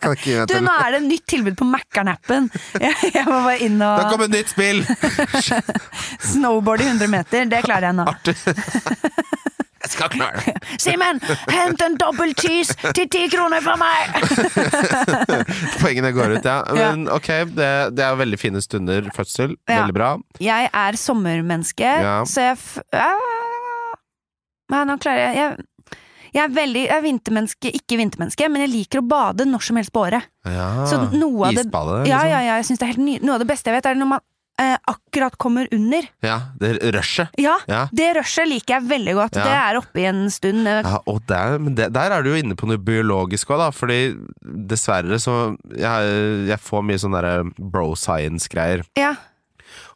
[SPEAKER 2] kan ikke
[SPEAKER 3] Du, nå er det et nytt tilbud på Mækkern-appen! Jeg, jeg må bare inn
[SPEAKER 2] Da
[SPEAKER 3] og
[SPEAKER 2] kommer et nytt spill!
[SPEAKER 3] snowboarde i 100 meter. Det klarer jeg nå.
[SPEAKER 2] Arthur. Jeg skal klare det.
[SPEAKER 3] Simen, hent en dobbel cheese til ti kroner fra meg!
[SPEAKER 2] Poengene går ut, ja. Men ok, det, det er veldig fine stunder. Fødsel,
[SPEAKER 3] Ja.
[SPEAKER 2] veldig bra.
[SPEAKER 3] Jeg er sommermenneske,
[SPEAKER 2] Ja.
[SPEAKER 3] så jeg f... Ah. Nei, nå klarer jeg Jeg, jeg er veldig jeg er vintermenneske, ikke vintermenneske, men jeg liker å bade når som helst på året.
[SPEAKER 2] Ja.
[SPEAKER 3] Så noe av det-
[SPEAKER 2] Isbade, Ah,
[SPEAKER 3] Ja,
[SPEAKER 2] liksom.
[SPEAKER 3] ja, ja, jeg synes det er helt ny... Noe av det beste jeg vet, er når man eh, akkurat kommer under.
[SPEAKER 2] Ja, det er rushet.
[SPEAKER 3] Ja,
[SPEAKER 2] Ja.
[SPEAKER 3] det rushet liker jeg veldig godt.
[SPEAKER 2] Ja.
[SPEAKER 3] Det er oppe i en stund. eh,
[SPEAKER 2] Ja, og der, men det, der er du jo inne på noe biologisk òg, da. Fordi dessverre så Jeg, jeg får mye sånn derre bro science-greier.
[SPEAKER 3] Ja.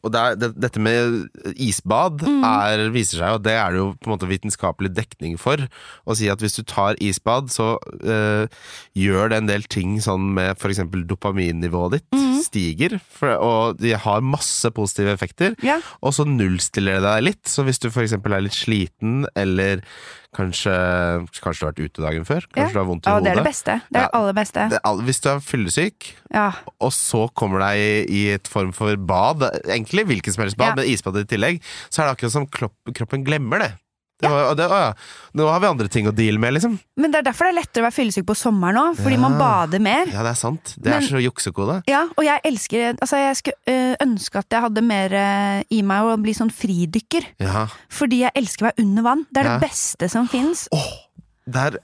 [SPEAKER 2] Og det er, det, dette med isbad
[SPEAKER 3] Mm.
[SPEAKER 2] er, viser seg jo, det er det jo på en måte vitenskapelig dekning for, å si at hvis du tar isbad, så eh, gjør det en del ting sånn med f.eks. dopaminnivået ditt
[SPEAKER 3] Mm.
[SPEAKER 2] stiger, for, og de har masse positive effekter.
[SPEAKER 3] Ja.
[SPEAKER 2] Og så nullstiller det deg litt, så hvis du f.eks. er litt sliten, eller kanskje, kanskje du har vært ute dagen før, kanskje
[SPEAKER 3] Ja.
[SPEAKER 2] du har vondt i
[SPEAKER 3] Å, det
[SPEAKER 2] hodet
[SPEAKER 3] er det beste. Det
[SPEAKER 2] Ja.
[SPEAKER 3] er det aller beste.
[SPEAKER 2] Det er all- Hvis du er fyllesyk,
[SPEAKER 3] Ja.
[SPEAKER 2] og så kommer deg i, i et form for bad, egentlig hvilket som helst bad,
[SPEAKER 3] Ja.
[SPEAKER 2] men isbad i tillegg, så er det akkurat som klopp, kroppen glemmer det. det, var, og det å, ja. Nå har vi andre ting å deale med, liksom.
[SPEAKER 3] Men det er derfor det er lettere å være fyllesyk på sommeren òg, fordi
[SPEAKER 2] Ja.
[SPEAKER 3] man bader mer.
[SPEAKER 2] Ja, det er sant. Det
[SPEAKER 3] Men-
[SPEAKER 2] er så juksekode.
[SPEAKER 3] Ja, og jeg elsker Altså, jeg skulle øh, ønske at jeg hadde mer øh, i meg å bli sånn fridykker.
[SPEAKER 2] Ja.
[SPEAKER 3] Fordi jeg elsker å være under vann. Det er
[SPEAKER 2] Ja.
[SPEAKER 3] det beste som fins.
[SPEAKER 2] Åh, der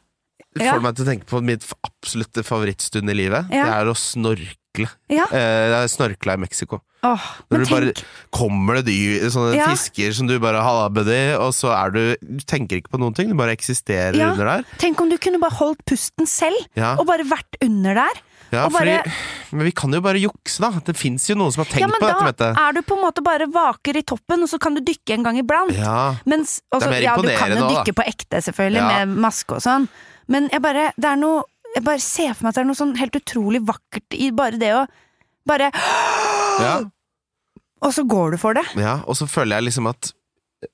[SPEAKER 2] får
[SPEAKER 3] Ja.
[SPEAKER 2] du meg til å tenke på mitt f- absolutte favorittstund i livet.
[SPEAKER 3] Ja.
[SPEAKER 2] Det er å snorkle.
[SPEAKER 3] Ja.
[SPEAKER 2] Eh, jeg snorkla i Mexico.
[SPEAKER 3] Åh,
[SPEAKER 2] Når
[SPEAKER 3] men
[SPEAKER 2] du bare
[SPEAKER 3] tenk
[SPEAKER 2] kommer det dyr, sånne
[SPEAKER 3] Ja.
[SPEAKER 2] fisker som du bare halla, buddy, og så er du Du tenker ikke på noen ting, du bare eksisterer
[SPEAKER 3] Ja.
[SPEAKER 2] under der.
[SPEAKER 3] Tenk om du kunne bare holdt pusten selv,
[SPEAKER 2] Ja.
[SPEAKER 3] og bare vært under der.
[SPEAKER 2] Ja,
[SPEAKER 3] Og bare-
[SPEAKER 2] fordi, men vi kan jo bare jukse, da. Det fins jo noen som har tenkt
[SPEAKER 3] Ja, men
[SPEAKER 2] på dette.
[SPEAKER 3] da
[SPEAKER 2] Mette.
[SPEAKER 3] er du på en måte bare vaker i toppen, og så kan du dykke en gang iblant.
[SPEAKER 2] Ja.
[SPEAKER 3] Mens,
[SPEAKER 2] Det
[SPEAKER 3] også,
[SPEAKER 2] er mer
[SPEAKER 3] ja, du kan
[SPEAKER 2] imponerende
[SPEAKER 3] jo
[SPEAKER 2] også, da.
[SPEAKER 3] dykke på ekte, selvfølgelig,
[SPEAKER 2] Ja.
[SPEAKER 3] med maske og sånn. Men jeg bare Det er noe Jeg bare ser for meg at det er noe sånn helt utrolig vakkert i bare det å Bare
[SPEAKER 2] Ja,
[SPEAKER 3] Og så går du for det.
[SPEAKER 2] ja. Og så føler jeg liksom at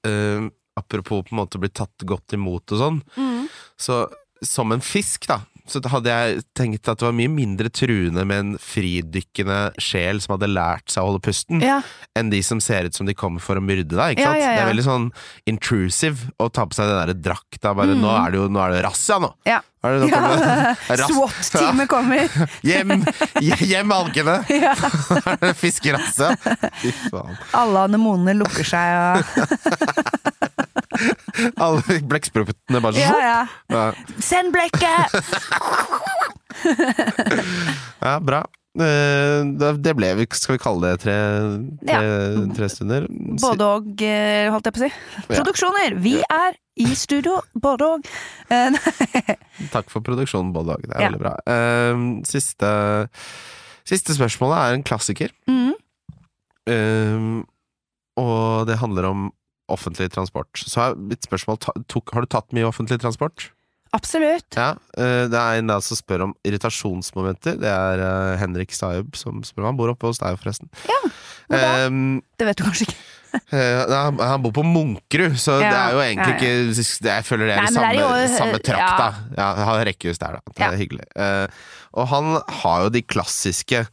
[SPEAKER 2] eh, Apropos på en måte å bli tatt godt imot og sånn,
[SPEAKER 3] Mm.
[SPEAKER 2] så som en fisk, da, så hadde jeg tenkt at det var mye mindre truende med en fridykkende sjel som hadde lært seg å holde pusten,
[SPEAKER 3] Ja.
[SPEAKER 2] enn de som ser ut som de kommer for å myrde deg. ikke
[SPEAKER 3] Ja,
[SPEAKER 2] sant?
[SPEAKER 3] ja,
[SPEAKER 2] Det
[SPEAKER 3] ja.
[SPEAKER 2] er veldig sånn intrusive å ta på seg den der drakta. Bare, Nå er det jo nå er det rass, ja, nå!
[SPEAKER 3] ja.
[SPEAKER 2] Er det, nå
[SPEAKER 3] Mm. Ja,
[SPEAKER 2] kommer det- rass.
[SPEAKER 3] SWAT-teamet kommer.
[SPEAKER 2] Hjem, hjem algene!
[SPEAKER 3] Ja.
[SPEAKER 2] Fiskerasse! Fy faen.
[SPEAKER 3] Alle anemonene lukker seg og
[SPEAKER 2] Alle blekksprutene bare
[SPEAKER 3] Ja,
[SPEAKER 2] sånn.
[SPEAKER 3] ja.
[SPEAKER 2] Ja.
[SPEAKER 3] Send blekket!
[SPEAKER 2] ja, bra. Eh, da- Det ble vi, skal vi kalle det, tre, tre, tre stunder?
[SPEAKER 3] Både og, eh, holdt jeg på å si. Produksjoner! Vi er i studio, både og. Eh, nei,
[SPEAKER 2] Takk for produksjonen, Bård Hage. Det er
[SPEAKER 3] Ja.
[SPEAKER 2] veldig bra. Ehm, siste, siste spørsmålet er en klassiker.
[SPEAKER 3] Mhm.
[SPEAKER 2] Ehm, og det handler om offentlig transport. Så er mitt spørsmål ta, tok, Har du tatt mye offentlig transport?
[SPEAKER 3] Absolutt.
[SPEAKER 2] Ja. eh, det er en da som spør om irritasjonsmomenter. Det er eh, Henrik Sayub som spør. Han bor oppe hos deg, forresten.
[SPEAKER 3] hvor da?
[SPEAKER 2] Ehm,
[SPEAKER 3] Det vet du kanskje ikke.
[SPEAKER 2] eh, nei, han, han bor på Munkerud, så det
[SPEAKER 3] Ja,
[SPEAKER 2] er jo egentlig
[SPEAKER 3] ja, ja.
[SPEAKER 2] ikke det, Jeg føler det er
[SPEAKER 3] Nei,
[SPEAKER 2] i
[SPEAKER 3] men
[SPEAKER 2] samme,
[SPEAKER 3] det er jo-
[SPEAKER 2] samme
[SPEAKER 3] ja.
[SPEAKER 2] trakt, da. Ja, jeg har rekkehus der, da. Det er
[SPEAKER 3] Ja.
[SPEAKER 2] hyggelig. Eh, og han har jo de klassiske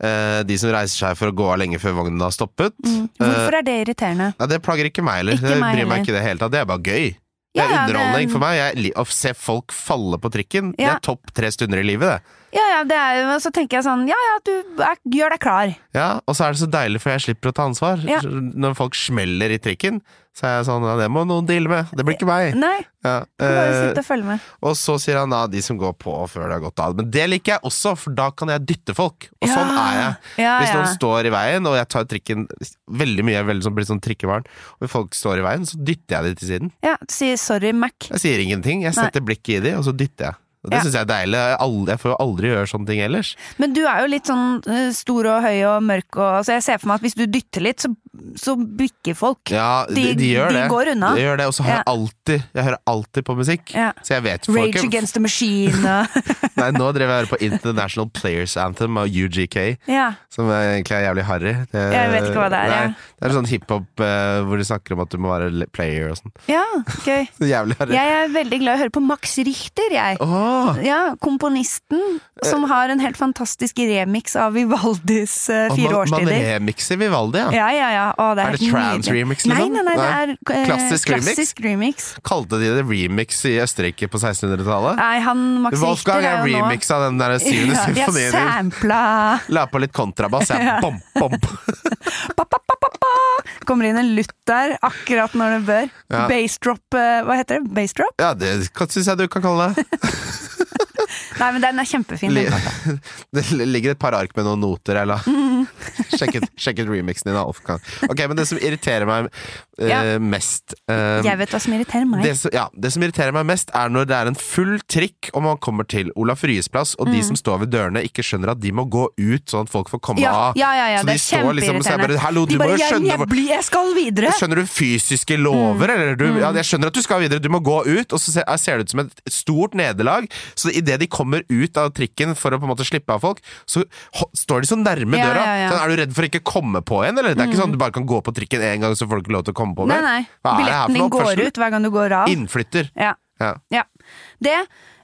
[SPEAKER 2] eh, De som reiser seg for å gå av lenge før vognen har stoppet. Eh,
[SPEAKER 3] Hvorfor er det irriterende?
[SPEAKER 2] nei, det plager ikke meg heller.
[SPEAKER 3] Ikke
[SPEAKER 2] Det
[SPEAKER 3] meg
[SPEAKER 2] bryr meg
[SPEAKER 3] heller.
[SPEAKER 2] ikke i det hele tatt. Det er bare gøy. Det er
[SPEAKER 3] Ja, ja, det er
[SPEAKER 2] underholdning
[SPEAKER 3] en-
[SPEAKER 2] for meg. Jeg, li- å se folk falle på trikken, det
[SPEAKER 3] Ja.
[SPEAKER 2] er topp tre stunder i livet, det.
[SPEAKER 3] Ja, ja, det er, jo- så tenker jeg sånn Ja, ja, du er, gjør deg klar.
[SPEAKER 2] Ja, og så er det så deilig, for jeg slipper å ta ansvar.
[SPEAKER 3] Ja.
[SPEAKER 2] Når folk smeller i trikken, så er jeg sånn ja, det må noen deale med. Det blir ikke meg.
[SPEAKER 3] Nei,
[SPEAKER 2] Ja,
[SPEAKER 3] du kan bare
[SPEAKER 2] eh,
[SPEAKER 3] sitte og følge med.
[SPEAKER 2] og så sier han da de som går på før det har gått av. Men det liker jeg også, for da kan jeg dytte folk. Og sånn
[SPEAKER 3] Ja,
[SPEAKER 2] er jeg.
[SPEAKER 3] ja,
[SPEAKER 2] Hvis
[SPEAKER 3] ja.
[SPEAKER 2] noen står i veien, og jeg tar trikken veldig mye, jeg er veldig sånn, blir sånn trikkebarn, og hvis folk står i veien, så dytter jeg de til siden.
[SPEAKER 3] Ja, si sorry, Mac.
[SPEAKER 2] Jeg sier ingenting. Jeg setter blikket i de, og så dytter jeg. Og det
[SPEAKER 3] Ja.
[SPEAKER 2] synes syns jeg er deilig. Jeg, aldri, jeg får jo aldri gjøre sånne ting ellers.
[SPEAKER 3] Men du er jo litt sånn eh, stor og høy og mørk, og, så jeg ser for meg at hvis du dytter litt, så, så bikker folk.
[SPEAKER 2] Ja, de, de,
[SPEAKER 3] De-
[SPEAKER 2] gjør
[SPEAKER 3] de
[SPEAKER 2] det.
[SPEAKER 3] går unna.
[SPEAKER 2] De gjør det, Og så hører jeg alltid Jeg hører alltid på musikk.
[SPEAKER 3] Ja.
[SPEAKER 2] Så jeg vet folk
[SPEAKER 3] Rage Against the Machine og
[SPEAKER 2] Nei, nå drev jeg og hører på International Players Anthem av UGK.
[SPEAKER 3] Ja.
[SPEAKER 2] Som er egentlig er jævlig harry. Det,
[SPEAKER 3] Jeg vet ikke hva det er,
[SPEAKER 2] Nei,
[SPEAKER 3] jeg.
[SPEAKER 2] Det er sånn hiphop eh, hvor de snakker om at du må være le- player og sånn.
[SPEAKER 3] ja, gøy.
[SPEAKER 2] Så Jævlig harry.
[SPEAKER 3] Jeg er veldig glad i å høre på Max Richter, jeg.
[SPEAKER 2] Åh, Eh.
[SPEAKER 3] Ja, Komponisten som har en helt fantastisk remix av Vivaldis eh,
[SPEAKER 2] og
[SPEAKER 3] fire
[SPEAKER 2] man, man
[SPEAKER 3] årstider.
[SPEAKER 2] remixer Vivaldi, ja.
[SPEAKER 3] Ja, ja, ja. Å, det er,
[SPEAKER 2] Er det
[SPEAKER 3] helt
[SPEAKER 2] trans
[SPEAKER 3] nydelig.
[SPEAKER 2] remix, liksom?
[SPEAKER 3] Nei, nei, nei, det er eh,
[SPEAKER 2] Klassisk remix?
[SPEAKER 3] klassisk remix.
[SPEAKER 2] Kalte de det remix i Østerrike på 1600-tallet?
[SPEAKER 3] Nei, han Max
[SPEAKER 2] Wolfgang
[SPEAKER 3] Richter
[SPEAKER 2] har
[SPEAKER 3] er jo nå
[SPEAKER 2] remixa den der syvende
[SPEAKER 3] Ja, Vi har
[SPEAKER 2] symfonien. din.
[SPEAKER 3] sampla
[SPEAKER 2] La på litt kontrabass, jeg.
[SPEAKER 3] Ja.
[SPEAKER 2] Bom, bom.
[SPEAKER 3] pa, pa, pa, pa, pa. Kommer inn en lutt der akkurat når det bør.
[SPEAKER 2] Ja.
[SPEAKER 3] Bassdrop eh, Hva heter det? Bassdrop?
[SPEAKER 2] Ja, det syns jeg du kan kalle det.
[SPEAKER 3] Nei, men den er kjempefin.
[SPEAKER 2] Li-
[SPEAKER 3] den.
[SPEAKER 2] Det ligger et par ark med noen noter her, da.
[SPEAKER 3] Mhm.
[SPEAKER 2] Sjekk ut- sjekk ut remixen din av Wolfgang. Ok, men det som irriterer meg eh,
[SPEAKER 3] Ja.
[SPEAKER 2] mest eh,
[SPEAKER 3] Jeg vet hva som irriterer meg.
[SPEAKER 2] det som, ja, det som irriterer meg mest, er når det er en full trikk og man kommer til Olaf Ryes plass, og
[SPEAKER 3] Mhm.
[SPEAKER 2] de som står ved dørene, ikke skjønner at de må gå ut, sånn at folk får komme
[SPEAKER 3] Ja,
[SPEAKER 2] av.
[SPEAKER 3] ja, ja, ja
[SPEAKER 2] så
[SPEAKER 3] det
[SPEAKER 2] de
[SPEAKER 3] er
[SPEAKER 2] står liksom så jeg bare,
[SPEAKER 3] kjempeirriterende.
[SPEAKER 2] Hallo, du
[SPEAKER 3] de
[SPEAKER 2] må
[SPEAKER 3] bare
[SPEAKER 2] jo
[SPEAKER 3] jeg,
[SPEAKER 2] skjønne
[SPEAKER 3] jeg,
[SPEAKER 2] hvor-
[SPEAKER 3] blir, jeg skal videre!
[SPEAKER 2] Skjønner du fysiske lover,
[SPEAKER 3] Mm.
[SPEAKER 2] eller? Du, ja, jeg skjønner at du skal videre, du må gå ut, og så ser, ser det ut som et stort nederlag. Så idet de kommer ut av trikken for å på en måte slippe av folk, så ho- står de så nærme
[SPEAKER 3] Ja,
[SPEAKER 2] døra.
[SPEAKER 3] ja, ja.
[SPEAKER 2] Sånn, er du redd for ikke å komme på igjen, eller? Det er ikke sånn at du bare kan gå på trikken én gang, så får du ikke lov til å komme på
[SPEAKER 3] Nei,
[SPEAKER 2] mer.
[SPEAKER 3] nei.
[SPEAKER 2] Hva er det her for
[SPEAKER 3] Billetten
[SPEAKER 2] noe
[SPEAKER 3] din går
[SPEAKER 2] oppførsel?
[SPEAKER 3] ut hver gang du går av.
[SPEAKER 2] Innflytter.
[SPEAKER 3] Ja,
[SPEAKER 2] Ja.
[SPEAKER 3] ja. Det.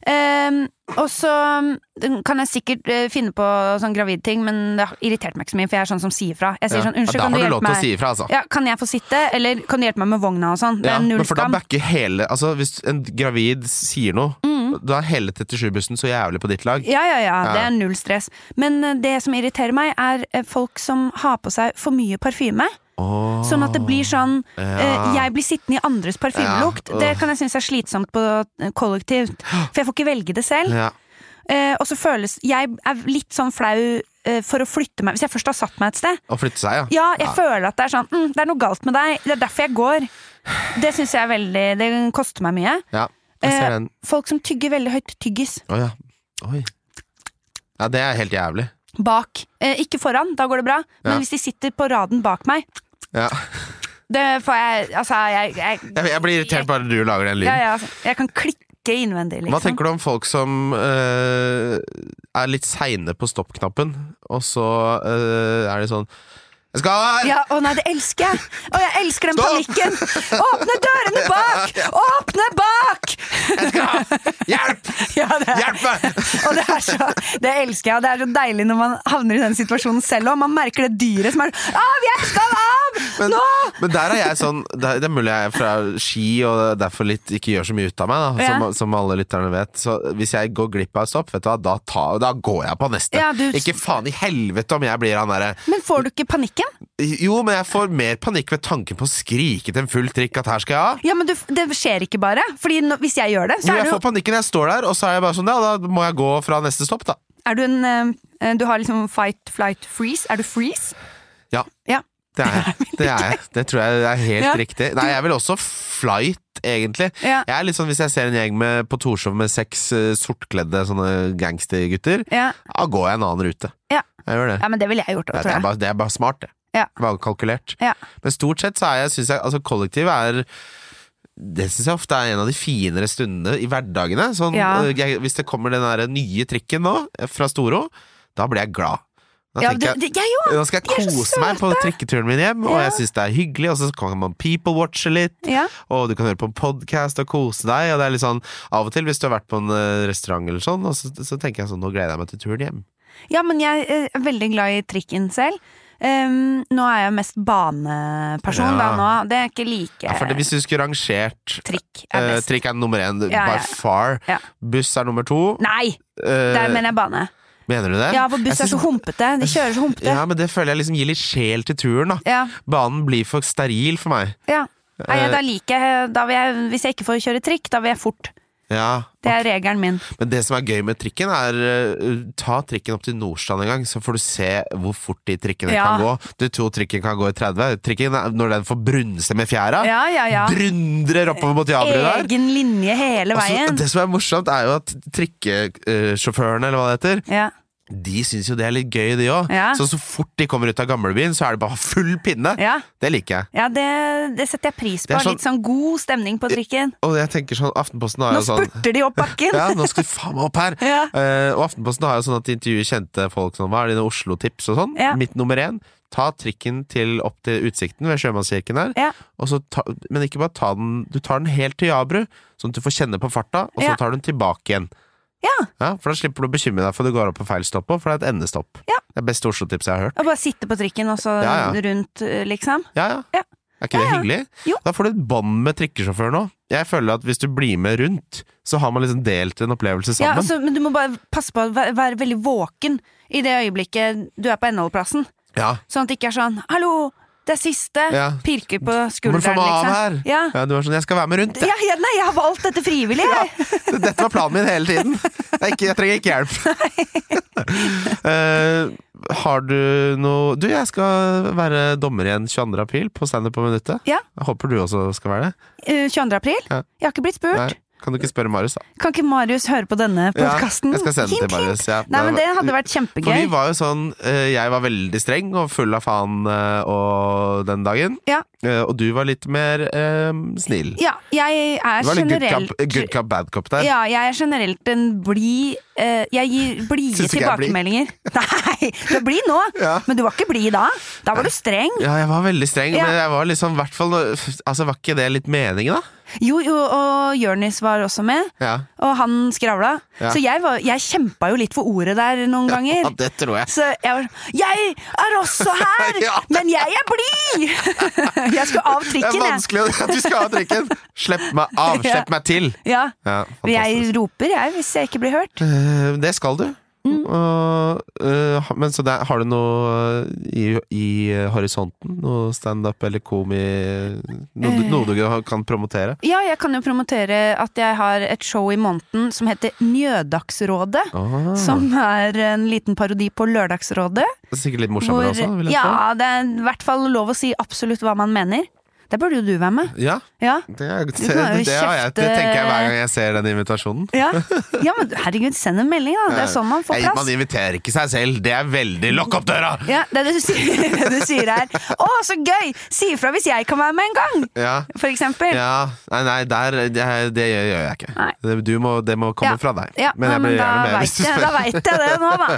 [SPEAKER 3] ehm, og så mm, kan jeg sikkert eh, finne på sånn gravidting, men det har irritert meg ikke så mye, for jeg er sånn som sier fra. Jeg sier
[SPEAKER 2] Ja.
[SPEAKER 3] sånn, unnskyld,
[SPEAKER 2] Ja, da
[SPEAKER 3] kan
[SPEAKER 2] har
[SPEAKER 3] du
[SPEAKER 2] du lov til
[SPEAKER 3] hjelpe
[SPEAKER 2] å
[SPEAKER 3] meg?
[SPEAKER 2] si ifra, altså.
[SPEAKER 3] Ja, kan jeg få sitte, eller kan du hjelpe meg med vogna og sånn? Det
[SPEAKER 2] Ja,
[SPEAKER 3] er null
[SPEAKER 2] men for da
[SPEAKER 3] skam.
[SPEAKER 2] backer hele altså Hvis en gravid sier noe, da er hele 37-bussen så jævlig på ditt lag.
[SPEAKER 3] Mm. Ja, ja, ja, det
[SPEAKER 2] Ja.
[SPEAKER 3] er null stress. Men eh, det som irriterer meg, er eh, folk som har på seg for mye parfyme.
[SPEAKER 2] Åh.
[SPEAKER 3] Sånn at det blir sånn eh,
[SPEAKER 2] Ja.
[SPEAKER 3] Jeg blir sittende i andres parfymelukt.
[SPEAKER 2] Ja,
[SPEAKER 3] Det
[SPEAKER 2] åh.
[SPEAKER 3] kan jeg synes er slitsomt på eh, kollektivt. For jeg får ikke velge det selv.
[SPEAKER 2] ja.
[SPEAKER 3] Eh, og så føles Jeg er litt sånn flau eh, for å flytte meg. Hvis jeg først har satt meg et sted.
[SPEAKER 2] Å flytte seg, ja.
[SPEAKER 3] Ja, jeg føler at det er sånn mm, Det er noe galt med deg. Det er derfor jeg går. Det syns jeg er veldig Det koster meg mye.
[SPEAKER 2] ja. Jeg
[SPEAKER 3] Eh,
[SPEAKER 2] ser den.
[SPEAKER 3] Folk som tygger veldig høyt tyggis.
[SPEAKER 2] Å ja. Oi. Ja, det er helt jævlig.
[SPEAKER 3] Bak. Eh, ikke foran, da går det bra. Men
[SPEAKER 2] Ja.
[SPEAKER 3] hvis de sitter på raden bak meg,
[SPEAKER 2] Ja.
[SPEAKER 3] det får jeg Altså, jeg, jeg
[SPEAKER 2] Jeg, jeg blir irritert bare du lager den
[SPEAKER 3] Ja,
[SPEAKER 2] lyden.
[SPEAKER 3] ja, jeg kan klikke ikke innvendig, liksom.
[SPEAKER 2] Hva tenker du om folk som eh, er litt seine på stoppknappen, og så eh, er de sånn Jeg skal ha her!
[SPEAKER 3] Ja, å nei, det elsker jeg! Å, jeg elsker den
[SPEAKER 2] Stopp!
[SPEAKER 3] panikken! Åpne dørene bak! Åpne bak!
[SPEAKER 2] Jeg skal ha! Hjelp!
[SPEAKER 3] Ja, det er-
[SPEAKER 2] Hjelp meg!
[SPEAKER 3] Og det, er så, det elsker jeg, og det er så deilig når man havner i den situasjonen selv òg. Man merker det dyret som er sånn Av! Jeg skal av!
[SPEAKER 2] Men,
[SPEAKER 3] Nå!
[SPEAKER 2] men der er jeg sånn Det er, det er mulig jeg er fra Ski og derfor litt, ikke gjør så mye ut av meg, da, som,
[SPEAKER 3] Ja.
[SPEAKER 2] som alle lytterne vet. Så hvis jeg går glipp av et stopp, vet du hva, da, tar- da går jeg på neste.
[SPEAKER 3] Ja, du-
[SPEAKER 2] Ikke faen i helvete om jeg blir han derre
[SPEAKER 3] Men får du ikke panikken?
[SPEAKER 2] Jo, men jeg får mer panikk ved tanken på å skrike til en full trikk at her skal jeg av.
[SPEAKER 3] Ja, men du, Det skjer ikke bare. Fordi nå- Hvis jeg gjør det, så
[SPEAKER 2] Men
[SPEAKER 3] er
[SPEAKER 2] jeg
[SPEAKER 3] du,
[SPEAKER 2] får panikken, jeg står der, og så er jeg bare sånn, ja, da må jeg gå fra neste stopp, da.
[SPEAKER 3] er du en eh, Du har liksom fight, flight, freeze. Er du freeze?
[SPEAKER 2] Ja,
[SPEAKER 3] Ja.
[SPEAKER 2] det er jeg. Det, er jeg. det tror jeg er helt
[SPEAKER 3] Ja.
[SPEAKER 2] riktig. Nei, jeg vil også flight, egentlig.
[SPEAKER 3] Ja.
[SPEAKER 2] Jeg er litt sånn, Hvis jeg ser en gjeng med, på Torshov med seks eh, sortkledde sånne gangstergutter,
[SPEAKER 3] Ja.
[SPEAKER 2] da går jeg en annen rute.
[SPEAKER 3] Ja.
[SPEAKER 2] Jeg gjør det.
[SPEAKER 3] ja, men det ville jeg gjort òg,
[SPEAKER 2] det,
[SPEAKER 3] tror
[SPEAKER 2] er
[SPEAKER 3] jeg.
[SPEAKER 2] bare, det er bare smart, det.
[SPEAKER 3] Ja.
[SPEAKER 2] Bare kalkulert.
[SPEAKER 3] Ja.
[SPEAKER 2] Men stort sett så er jeg, synes jeg altså kollektiv er det synes jeg ofte er en av de finere stundene i hverdagene. Sånn,
[SPEAKER 3] Ja.
[SPEAKER 2] øh, jeg, hvis det kommer den der nye trikken nå, eh, fra Storo, da blir jeg glad. Da
[SPEAKER 3] Ja,
[SPEAKER 2] tenker
[SPEAKER 3] du,
[SPEAKER 2] jeg øh,
[SPEAKER 3] det, jeg òg!
[SPEAKER 2] nå skal
[SPEAKER 3] de er
[SPEAKER 2] jeg
[SPEAKER 3] så
[SPEAKER 2] kose meg på trikketuren min hjem, og
[SPEAKER 3] Ja.
[SPEAKER 2] jeg syns det er hyggelig. Og så kan man people-watche litt,
[SPEAKER 3] Ja.
[SPEAKER 2] og du kan høre på en podkast og kose deg. Og det er litt sånn, Av og til, hvis du har vært på en eh, restaurant, eller sånn, og så, så tenker jeg sånn Nå gleder jeg meg til turen hjem.
[SPEAKER 3] Ja, men jeg eh, er veldig glad i trikken selv. Ehm, nå er jeg mest baneperson, da
[SPEAKER 2] Ja.
[SPEAKER 3] nå. Det er ikke like
[SPEAKER 2] Ja, for det, hvis du skulle rangert
[SPEAKER 3] Trikk er
[SPEAKER 2] eh,
[SPEAKER 3] best.
[SPEAKER 2] Trikk er nummer én,
[SPEAKER 3] Ja, ja.
[SPEAKER 2] by far.
[SPEAKER 3] Ja.
[SPEAKER 2] Buss er nummer to.
[SPEAKER 3] Nei!
[SPEAKER 2] Eh,
[SPEAKER 3] Der mener jeg bane.
[SPEAKER 2] mener du det?
[SPEAKER 3] Ja, for buss
[SPEAKER 2] Jeg
[SPEAKER 3] er så
[SPEAKER 2] synes-
[SPEAKER 3] humpete. De kjører så humpete.
[SPEAKER 2] Ja, men det føler jeg liksom gir litt sjel til turen, da.
[SPEAKER 3] Ja,
[SPEAKER 2] Banen blir for steril for meg.
[SPEAKER 3] ja. Nei,
[SPEAKER 2] Eh,
[SPEAKER 3] da liker jeg, da vil jeg Hvis jeg ikke får kjøre trikk, da vil jeg fort.
[SPEAKER 2] Ja,
[SPEAKER 3] Det er regelen min.
[SPEAKER 2] Men det som er gøy med trikken, er eh, ta trikken opp til Nordstrand en gang, så får du se hvor fort de trikkene
[SPEAKER 3] Ja.
[SPEAKER 2] kan gå. Du tror trikken kan gå i 30. Trikken, er- når den får brunse med fjæra,
[SPEAKER 3] Ja, ja, ja.
[SPEAKER 2] dundrer oppover mot Jabru der. Altså,
[SPEAKER 3] Egen linje hele
[SPEAKER 2] Og så-
[SPEAKER 3] veien.
[SPEAKER 2] det som er morsomt, er jo at trikkesjåførene, eller hva det heter,
[SPEAKER 3] Ja.
[SPEAKER 2] de syns jo det er litt gøy, de òg.
[SPEAKER 3] Ja.
[SPEAKER 2] Så så fort de kommer ut av gamlebyen, så er det bare full pinne.
[SPEAKER 3] Ja,
[SPEAKER 2] Det liker jeg.
[SPEAKER 3] ja det, det setter jeg pris
[SPEAKER 2] Det
[SPEAKER 3] på.
[SPEAKER 2] er sånn-
[SPEAKER 3] Litt sånn god stemning på trikken.
[SPEAKER 2] Og jeg tenker sånn, Aftenposten har
[SPEAKER 3] Nå
[SPEAKER 2] jo sånn
[SPEAKER 3] spurter de opp bakken!
[SPEAKER 2] Ja, nå skal du faen meg opp her!
[SPEAKER 3] Ja.
[SPEAKER 2] Eh, og Aftenposten har jo sånn at de intervjuer kjente folk sånn, hva er dine Oslo-tips og sånn.
[SPEAKER 3] Ja.
[SPEAKER 2] Mitt nummer én, ta trikken til, opp til Utsikten ved Sjømannskirken der.
[SPEAKER 3] Ja.
[SPEAKER 2] Og så ta, men ikke bare ta den, du tar den helt til Jabru, sånn at du får kjenne på farta, og
[SPEAKER 3] Ja.
[SPEAKER 2] så tar du den tilbake igjen.
[SPEAKER 3] ja.
[SPEAKER 2] Ja, for da slipper du å bekymre deg for at du går opp på feil stopp òg, for det er et endestopp.
[SPEAKER 3] Ja.
[SPEAKER 2] Det er beste Oslo-tipset jeg har hørt.
[SPEAKER 3] Og bare sitte på trikken og så
[SPEAKER 2] Ja, ja.
[SPEAKER 3] rundt, eh, liksom.
[SPEAKER 2] Ja, ja.
[SPEAKER 3] Ja.
[SPEAKER 2] Er ikke det
[SPEAKER 3] Ja, ja.
[SPEAKER 2] hyggelig?
[SPEAKER 3] Jo.
[SPEAKER 2] Da får du et bånd med trikkesjåføren òg. Jeg føler at hvis du blir med rundt, så har man liksom delt en opplevelse
[SPEAKER 3] Ja,
[SPEAKER 2] sammen.
[SPEAKER 3] altså, men du må bare passe på å væ- være veldig våken i det øyeblikket du er på Endeholdplassen.
[SPEAKER 2] ja.
[SPEAKER 3] Sånn at det ikke er sånn 'hallo, det er siste',
[SPEAKER 2] Ja.
[SPEAKER 3] pirker på
[SPEAKER 2] Må
[SPEAKER 3] skulderen, liksom.
[SPEAKER 2] du få meg av her?
[SPEAKER 3] Ja.
[SPEAKER 2] Ja, du var sånn, jeg skal være med rundt. jeg.
[SPEAKER 3] Ja, ja, nei, jeg har valgt dette frivillig, jeg.
[SPEAKER 2] Dette var planen min hele tiden. Det er ikke, jeg trenger ikke hjelp. Eh, har du noe Du, jeg skal være dommer igjen 22. april på Standup på minuttet.
[SPEAKER 3] Ja.
[SPEAKER 2] Jeg håper du også skal være det.
[SPEAKER 3] Eh, 22. april.
[SPEAKER 2] Ja.
[SPEAKER 3] Jeg har ikke blitt spurt.
[SPEAKER 2] Nei, kan du ikke spørre Marius, da?
[SPEAKER 3] Kan ikke Marius høre på denne podkasten?
[SPEAKER 2] jeg skal sende den til Marius. Ja.
[SPEAKER 3] Nei, men det hadde vært kjempegøy.
[SPEAKER 2] For vi var jo sånn eh, Jeg var veldig streng og full av faen eh, og den dagen.
[SPEAKER 3] Ja.
[SPEAKER 2] Eh, og du var litt mer eh, snill.
[SPEAKER 3] Ja, jeg er
[SPEAKER 2] Det var litt good
[SPEAKER 3] generelt
[SPEAKER 2] cup, good cup, bad cup der.
[SPEAKER 3] Ja, jeg er generelt en blid eh, Jeg gir blide
[SPEAKER 2] Syns du ikke jeg er blid?
[SPEAKER 3] tilbakemeldinger. Nei, du er blid nå,
[SPEAKER 2] Ja.
[SPEAKER 3] men du var ikke blid da. Da var du streng.
[SPEAKER 2] Ja, jeg var veldig streng,
[SPEAKER 3] Ja.
[SPEAKER 2] men jeg var liksom hvert fall Altså, var ikke det litt meningen, da?
[SPEAKER 3] Jo, jo, og Jørnis var også med,
[SPEAKER 2] Ja.
[SPEAKER 3] og han skravla.
[SPEAKER 2] Ja.
[SPEAKER 3] Så jeg, var, jeg kjempa jo litt for ordet der noen ganger.
[SPEAKER 2] ja det tror jeg.
[SPEAKER 3] Så jeg var sånn Jeg er også her,
[SPEAKER 2] Ja.
[SPEAKER 3] men jeg er blid! jeg skulle av
[SPEAKER 2] Det er
[SPEAKER 3] trikken, jeg.
[SPEAKER 2] vanskelig at du skal ha trikken! Slipp meg av!
[SPEAKER 3] Ja.
[SPEAKER 2] Slipp meg til!
[SPEAKER 3] Ja.
[SPEAKER 2] Ja,
[SPEAKER 3] Men Jeg
[SPEAKER 2] fantastisk.
[SPEAKER 3] roper, jeg, hvis jeg ikke blir hørt.
[SPEAKER 2] Eh, Det skal du.
[SPEAKER 3] Mm.
[SPEAKER 2] Og, eh, ha- men så der, har du noe i, i horisonten? Noe standup eller komi... Noe, du- noe
[SPEAKER 3] Eh.
[SPEAKER 2] du kan promotere?
[SPEAKER 3] Ja, jeg kan jo promotere at jeg har et show i måneden som heter Njødagsrådet.
[SPEAKER 2] Ah,
[SPEAKER 3] Som er en liten parodi på Lørdagsrådet.
[SPEAKER 2] det er sikkert litt morsommere også, vil jeg
[SPEAKER 3] ja,
[SPEAKER 2] tro.
[SPEAKER 3] det er i hvert fall lov å si absolutt hva man mener. Det Der burde jo du være med.
[SPEAKER 2] Ja,
[SPEAKER 3] Ja.
[SPEAKER 2] det, er, det, det,
[SPEAKER 3] kan jo
[SPEAKER 2] har jeg, det
[SPEAKER 3] kjefte-
[SPEAKER 2] tenker jeg hver gang jeg ser den invitasjonen.
[SPEAKER 3] Ja, ja men herregud, send en melding, da. Det er sånn man får
[SPEAKER 2] Nei, Man
[SPEAKER 3] plass.
[SPEAKER 2] inviterer ikke seg selv. Det er veldig Lokk opp døra!
[SPEAKER 3] Ja, det du sier, det du sier er 'Å, så gøy! Si ifra hvis jeg kan være med en gang!'
[SPEAKER 2] Ja.
[SPEAKER 3] For eksempel.
[SPEAKER 2] ja. Nei, nei, der, det, det gjør gjør jeg ikke.
[SPEAKER 3] Nei.
[SPEAKER 2] Det, du må, det må komme
[SPEAKER 3] Ja.
[SPEAKER 2] fra deg.
[SPEAKER 3] Ja,
[SPEAKER 2] men
[SPEAKER 3] nei,
[SPEAKER 2] jeg blir
[SPEAKER 3] da
[SPEAKER 2] gjerne med
[SPEAKER 3] vet
[SPEAKER 2] hvis du
[SPEAKER 3] jeg- Da
[SPEAKER 2] spør.
[SPEAKER 3] veit jeg det nå, da.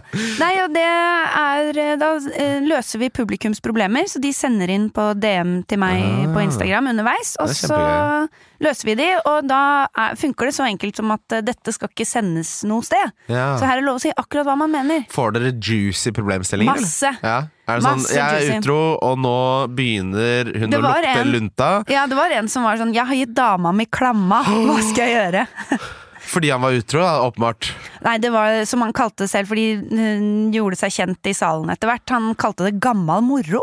[SPEAKER 3] Nei, og det er eh, Da eh, løser vi publikums problemer, så de sender inn på DM til meg
[SPEAKER 2] Ah.
[SPEAKER 3] på Instagram underveis, og
[SPEAKER 2] Det er
[SPEAKER 3] så løser vi de, og da er, funker det så enkelt som at eh, dette skal ikke sendes noe sted. Så
[SPEAKER 2] Ja.
[SPEAKER 3] her er det lov å si akkurat hva man mener.
[SPEAKER 2] Får dere juicy problemstillinger? eller?
[SPEAKER 3] Masse.
[SPEAKER 2] Ja. Er det sånn,
[SPEAKER 3] Masse
[SPEAKER 2] jeg
[SPEAKER 3] juicy.
[SPEAKER 2] er utro, og nå begynner hun
[SPEAKER 3] Det
[SPEAKER 2] å
[SPEAKER 3] var
[SPEAKER 2] lukte
[SPEAKER 3] en-
[SPEAKER 2] lunta
[SPEAKER 3] Ja, det var en som var sånn 'Jeg har gitt dama mi klamma, hva skal jeg gjøre?'
[SPEAKER 2] fordi han var utro, da, åpenbart.
[SPEAKER 3] Nei, det var som han kalte det selv, fordi eh, hun gjorde seg kjent i salen etter hvert. Han kalte det gammal moro.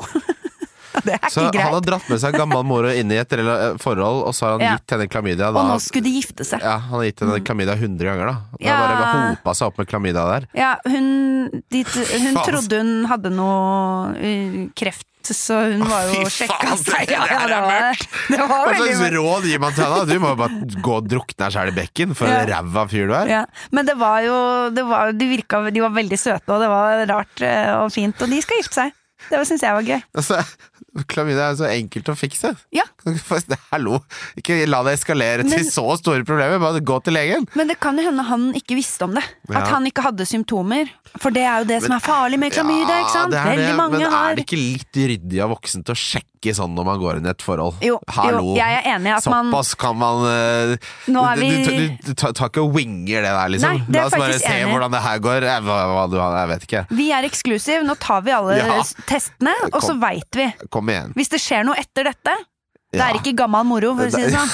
[SPEAKER 3] det er
[SPEAKER 2] Så
[SPEAKER 3] ikke
[SPEAKER 2] han
[SPEAKER 3] greit.
[SPEAKER 2] har dratt med seg gammel moro inn i et rela- forhold, og så har han
[SPEAKER 3] Ja.
[SPEAKER 2] gitt henne klamydia.
[SPEAKER 3] Og
[SPEAKER 2] Da.
[SPEAKER 3] nå skulle de gifte seg. Ja.
[SPEAKER 2] Ja, han har gitt henne klamydia 100 ganger, da. Det
[SPEAKER 3] Ja.
[SPEAKER 2] har bare hopa seg opp med klamydia der.
[SPEAKER 3] hun, de, hun
[SPEAKER 2] Faen. altså.
[SPEAKER 3] trodde hun hadde noe eh, kreft, så hun var jo
[SPEAKER 2] Fy
[SPEAKER 3] og sjekka
[SPEAKER 2] faen,
[SPEAKER 3] seg.
[SPEAKER 2] det
[SPEAKER 3] Ja, ja,
[SPEAKER 2] der
[SPEAKER 3] det
[SPEAKER 2] er
[SPEAKER 3] var, det var
[SPEAKER 2] Hva
[SPEAKER 3] veldig
[SPEAKER 2] slags råd gir man til henne? da? Du må jo bare gå og drukne deg sjæl i bekken, for
[SPEAKER 3] Ja.
[SPEAKER 2] en ræva fyr du er.
[SPEAKER 3] ja. Men det var jo det var, de, virka, de var veldig søte, og det var rart eh, og fint. Og de skal gifte seg. Det syns jeg var gøy.
[SPEAKER 2] Altså, klamydia er jo så enkelt å fikse.
[SPEAKER 3] Ja,
[SPEAKER 2] Kan du ikke få- Hallo! Ikke la det eskalere til
[SPEAKER 3] Men-
[SPEAKER 2] så store problemer, bare gå til legen.
[SPEAKER 3] Men det kan jo hende han ikke visste om det. At
[SPEAKER 2] Ja.
[SPEAKER 3] han ikke hadde symptomer. For det er jo det som er farlig med klamydia. ikke sant?
[SPEAKER 2] det er
[SPEAKER 3] Veldig
[SPEAKER 2] det,
[SPEAKER 3] mange
[SPEAKER 2] men
[SPEAKER 3] har
[SPEAKER 2] er det ikke litt ryddig av voksen til å sjekke sånn når man går inn i et forhold?
[SPEAKER 3] Jo,
[SPEAKER 2] Hallo!
[SPEAKER 3] jo, jeg er enig i at man
[SPEAKER 2] Såpass kan man eh,
[SPEAKER 3] Nå er
[SPEAKER 2] du-
[SPEAKER 3] vi-
[SPEAKER 2] Du, du, du, tar- tar ikke og winger det der, liksom.
[SPEAKER 3] Nei, det er
[SPEAKER 2] La oss bare
[SPEAKER 3] faktisk
[SPEAKER 2] se
[SPEAKER 3] enig.
[SPEAKER 2] hvordan det her går. Jeg, hva, hva, du, jeg vet ikke.
[SPEAKER 3] Vi er eksklusiv, nå tar vi alle
[SPEAKER 2] Ja.
[SPEAKER 3] s- testene, og så
[SPEAKER 2] Kom.
[SPEAKER 3] veit vi.
[SPEAKER 2] Kom igjen.
[SPEAKER 3] Hvis det skjer noe etter dette Det
[SPEAKER 2] Ja.
[SPEAKER 3] er ikke gammal moro, for å si det sånn.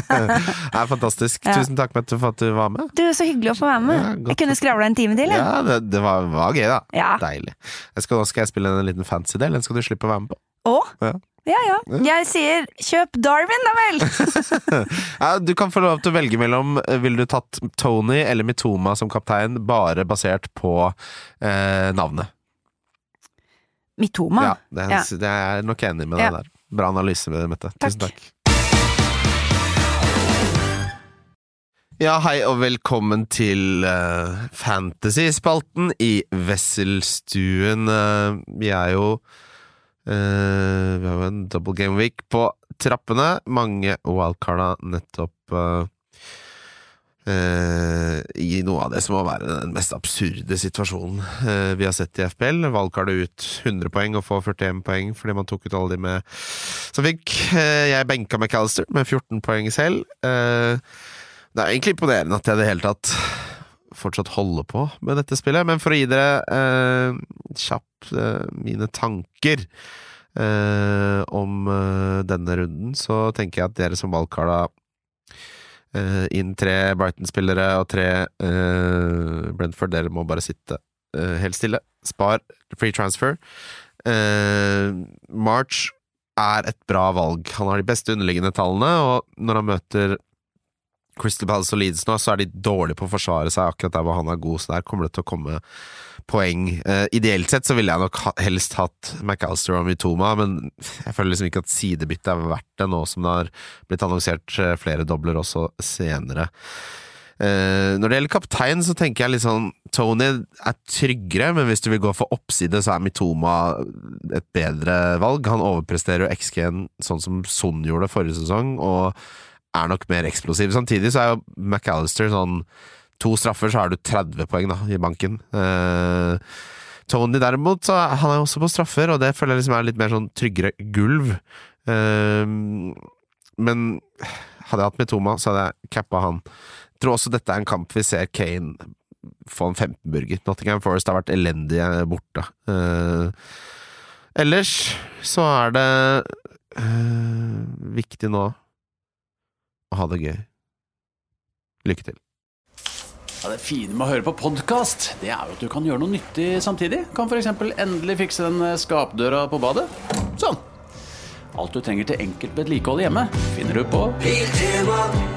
[SPEAKER 2] Det er fantastisk.
[SPEAKER 3] Ja.
[SPEAKER 2] Tusen takk, Mette, for at du var med.
[SPEAKER 3] Du, så hyggelig å få være
[SPEAKER 2] Ja,
[SPEAKER 3] med.
[SPEAKER 2] godt.
[SPEAKER 3] Jeg kunne skravla en time til, jeg.
[SPEAKER 2] Ja, det, det var, var gøy, da.
[SPEAKER 3] Ja.
[SPEAKER 2] Deilig. Jeg skal, nå skal jeg spille en liten fancy del. Den skal du slippe å være med på.
[SPEAKER 3] Og?
[SPEAKER 2] Ja.
[SPEAKER 3] Ja ja. Jeg sier kjøp Darwin, da vel!
[SPEAKER 2] Ja, du kan få lov til å velge mellom eh, Ville du tatt Tony eller Mitoma som kaptein, bare basert på eh, navnet.
[SPEAKER 3] Mitoma.
[SPEAKER 2] Ja, det, er- det er jeg nok enig med
[SPEAKER 3] Ja.
[SPEAKER 2] deg der. Bra analyse, Mette. Tusen
[SPEAKER 3] Takk.
[SPEAKER 2] takk. Ja, hei og velkommen til eh, Fantasyspalten i Wesselstuen. Eh, vi er jo eh, Vi har jo en double game week på trappene. Mange wildcarda nettopp eh, eh, i noe av det som må være den mest absurde situasjonen eh, vi har sett i FPL. Wildcardet ut 100 poeng og får 41 poeng fordi man tok ut alle de med som fikk. Eh, jeg benka McAllister med 14 poeng selv. Eh, det er egentlig imponerende at jeg i det hele tatt fortsatt holder på med dette spillet. Men for å gi dere eh, kjapt eh, mine tanker eh, om eh, denne runden, så tenker jeg at dere som valgkala eh, inn tre Brighton-spillere og tre eh, Brentford, dere må bare sitte eh, helt stille. Spar free transfer. Eh, March er et bra valg. Han har de beste underliggende tallene, og når han møter Crystal Palace og Leeds nå, så er de dårlige på å forsvare seg akkurat der hvor han er god, så der kommer det til å komme poeng. Eh, ideelt sett så ville jeg nok ha, helst hatt McAllister og Mitoma, men jeg føler liksom ikke at sidebyttet er verdt det nå som det har blitt annonsert eh, flere dobler også senere. Eh, når det gjelder kaptein, så tenker jeg litt sånn Tony er tryggere, men hvis du vil gå for oppside, så er Mitoma et bedre valg. Han overpresterer jo XG-en sånn som Son gjorde forrige sesong, og er nok mer eksplosiv. Samtidig så er jo McAllister sånn To straffer, så har du 30 poeng da, i banken. Eh, Tony derimot, så er- han er jo også på straffer, og det føler jeg liksom er litt mer sånn tryggere gulv. Eh, men hadde jeg hatt Mitoma, så hadde jeg cappa han. Tror også dette er en kamp vi ser Kane få en 15-burger. Nottingham Forest har vært elendige borte. Eh, ellers så er det eh, viktig nå å ha det gøy. Lykke til.
[SPEAKER 1] Ja, det fine med å høre på podkast, det er jo at du kan gjøre noe nyttig samtidig. Kan f.eks. endelig fikse den eh, skapdøra på badet. Sånn. Alt du trenger til enkelt vedlikehold hjemme, finner du på
[SPEAKER 4] Biltema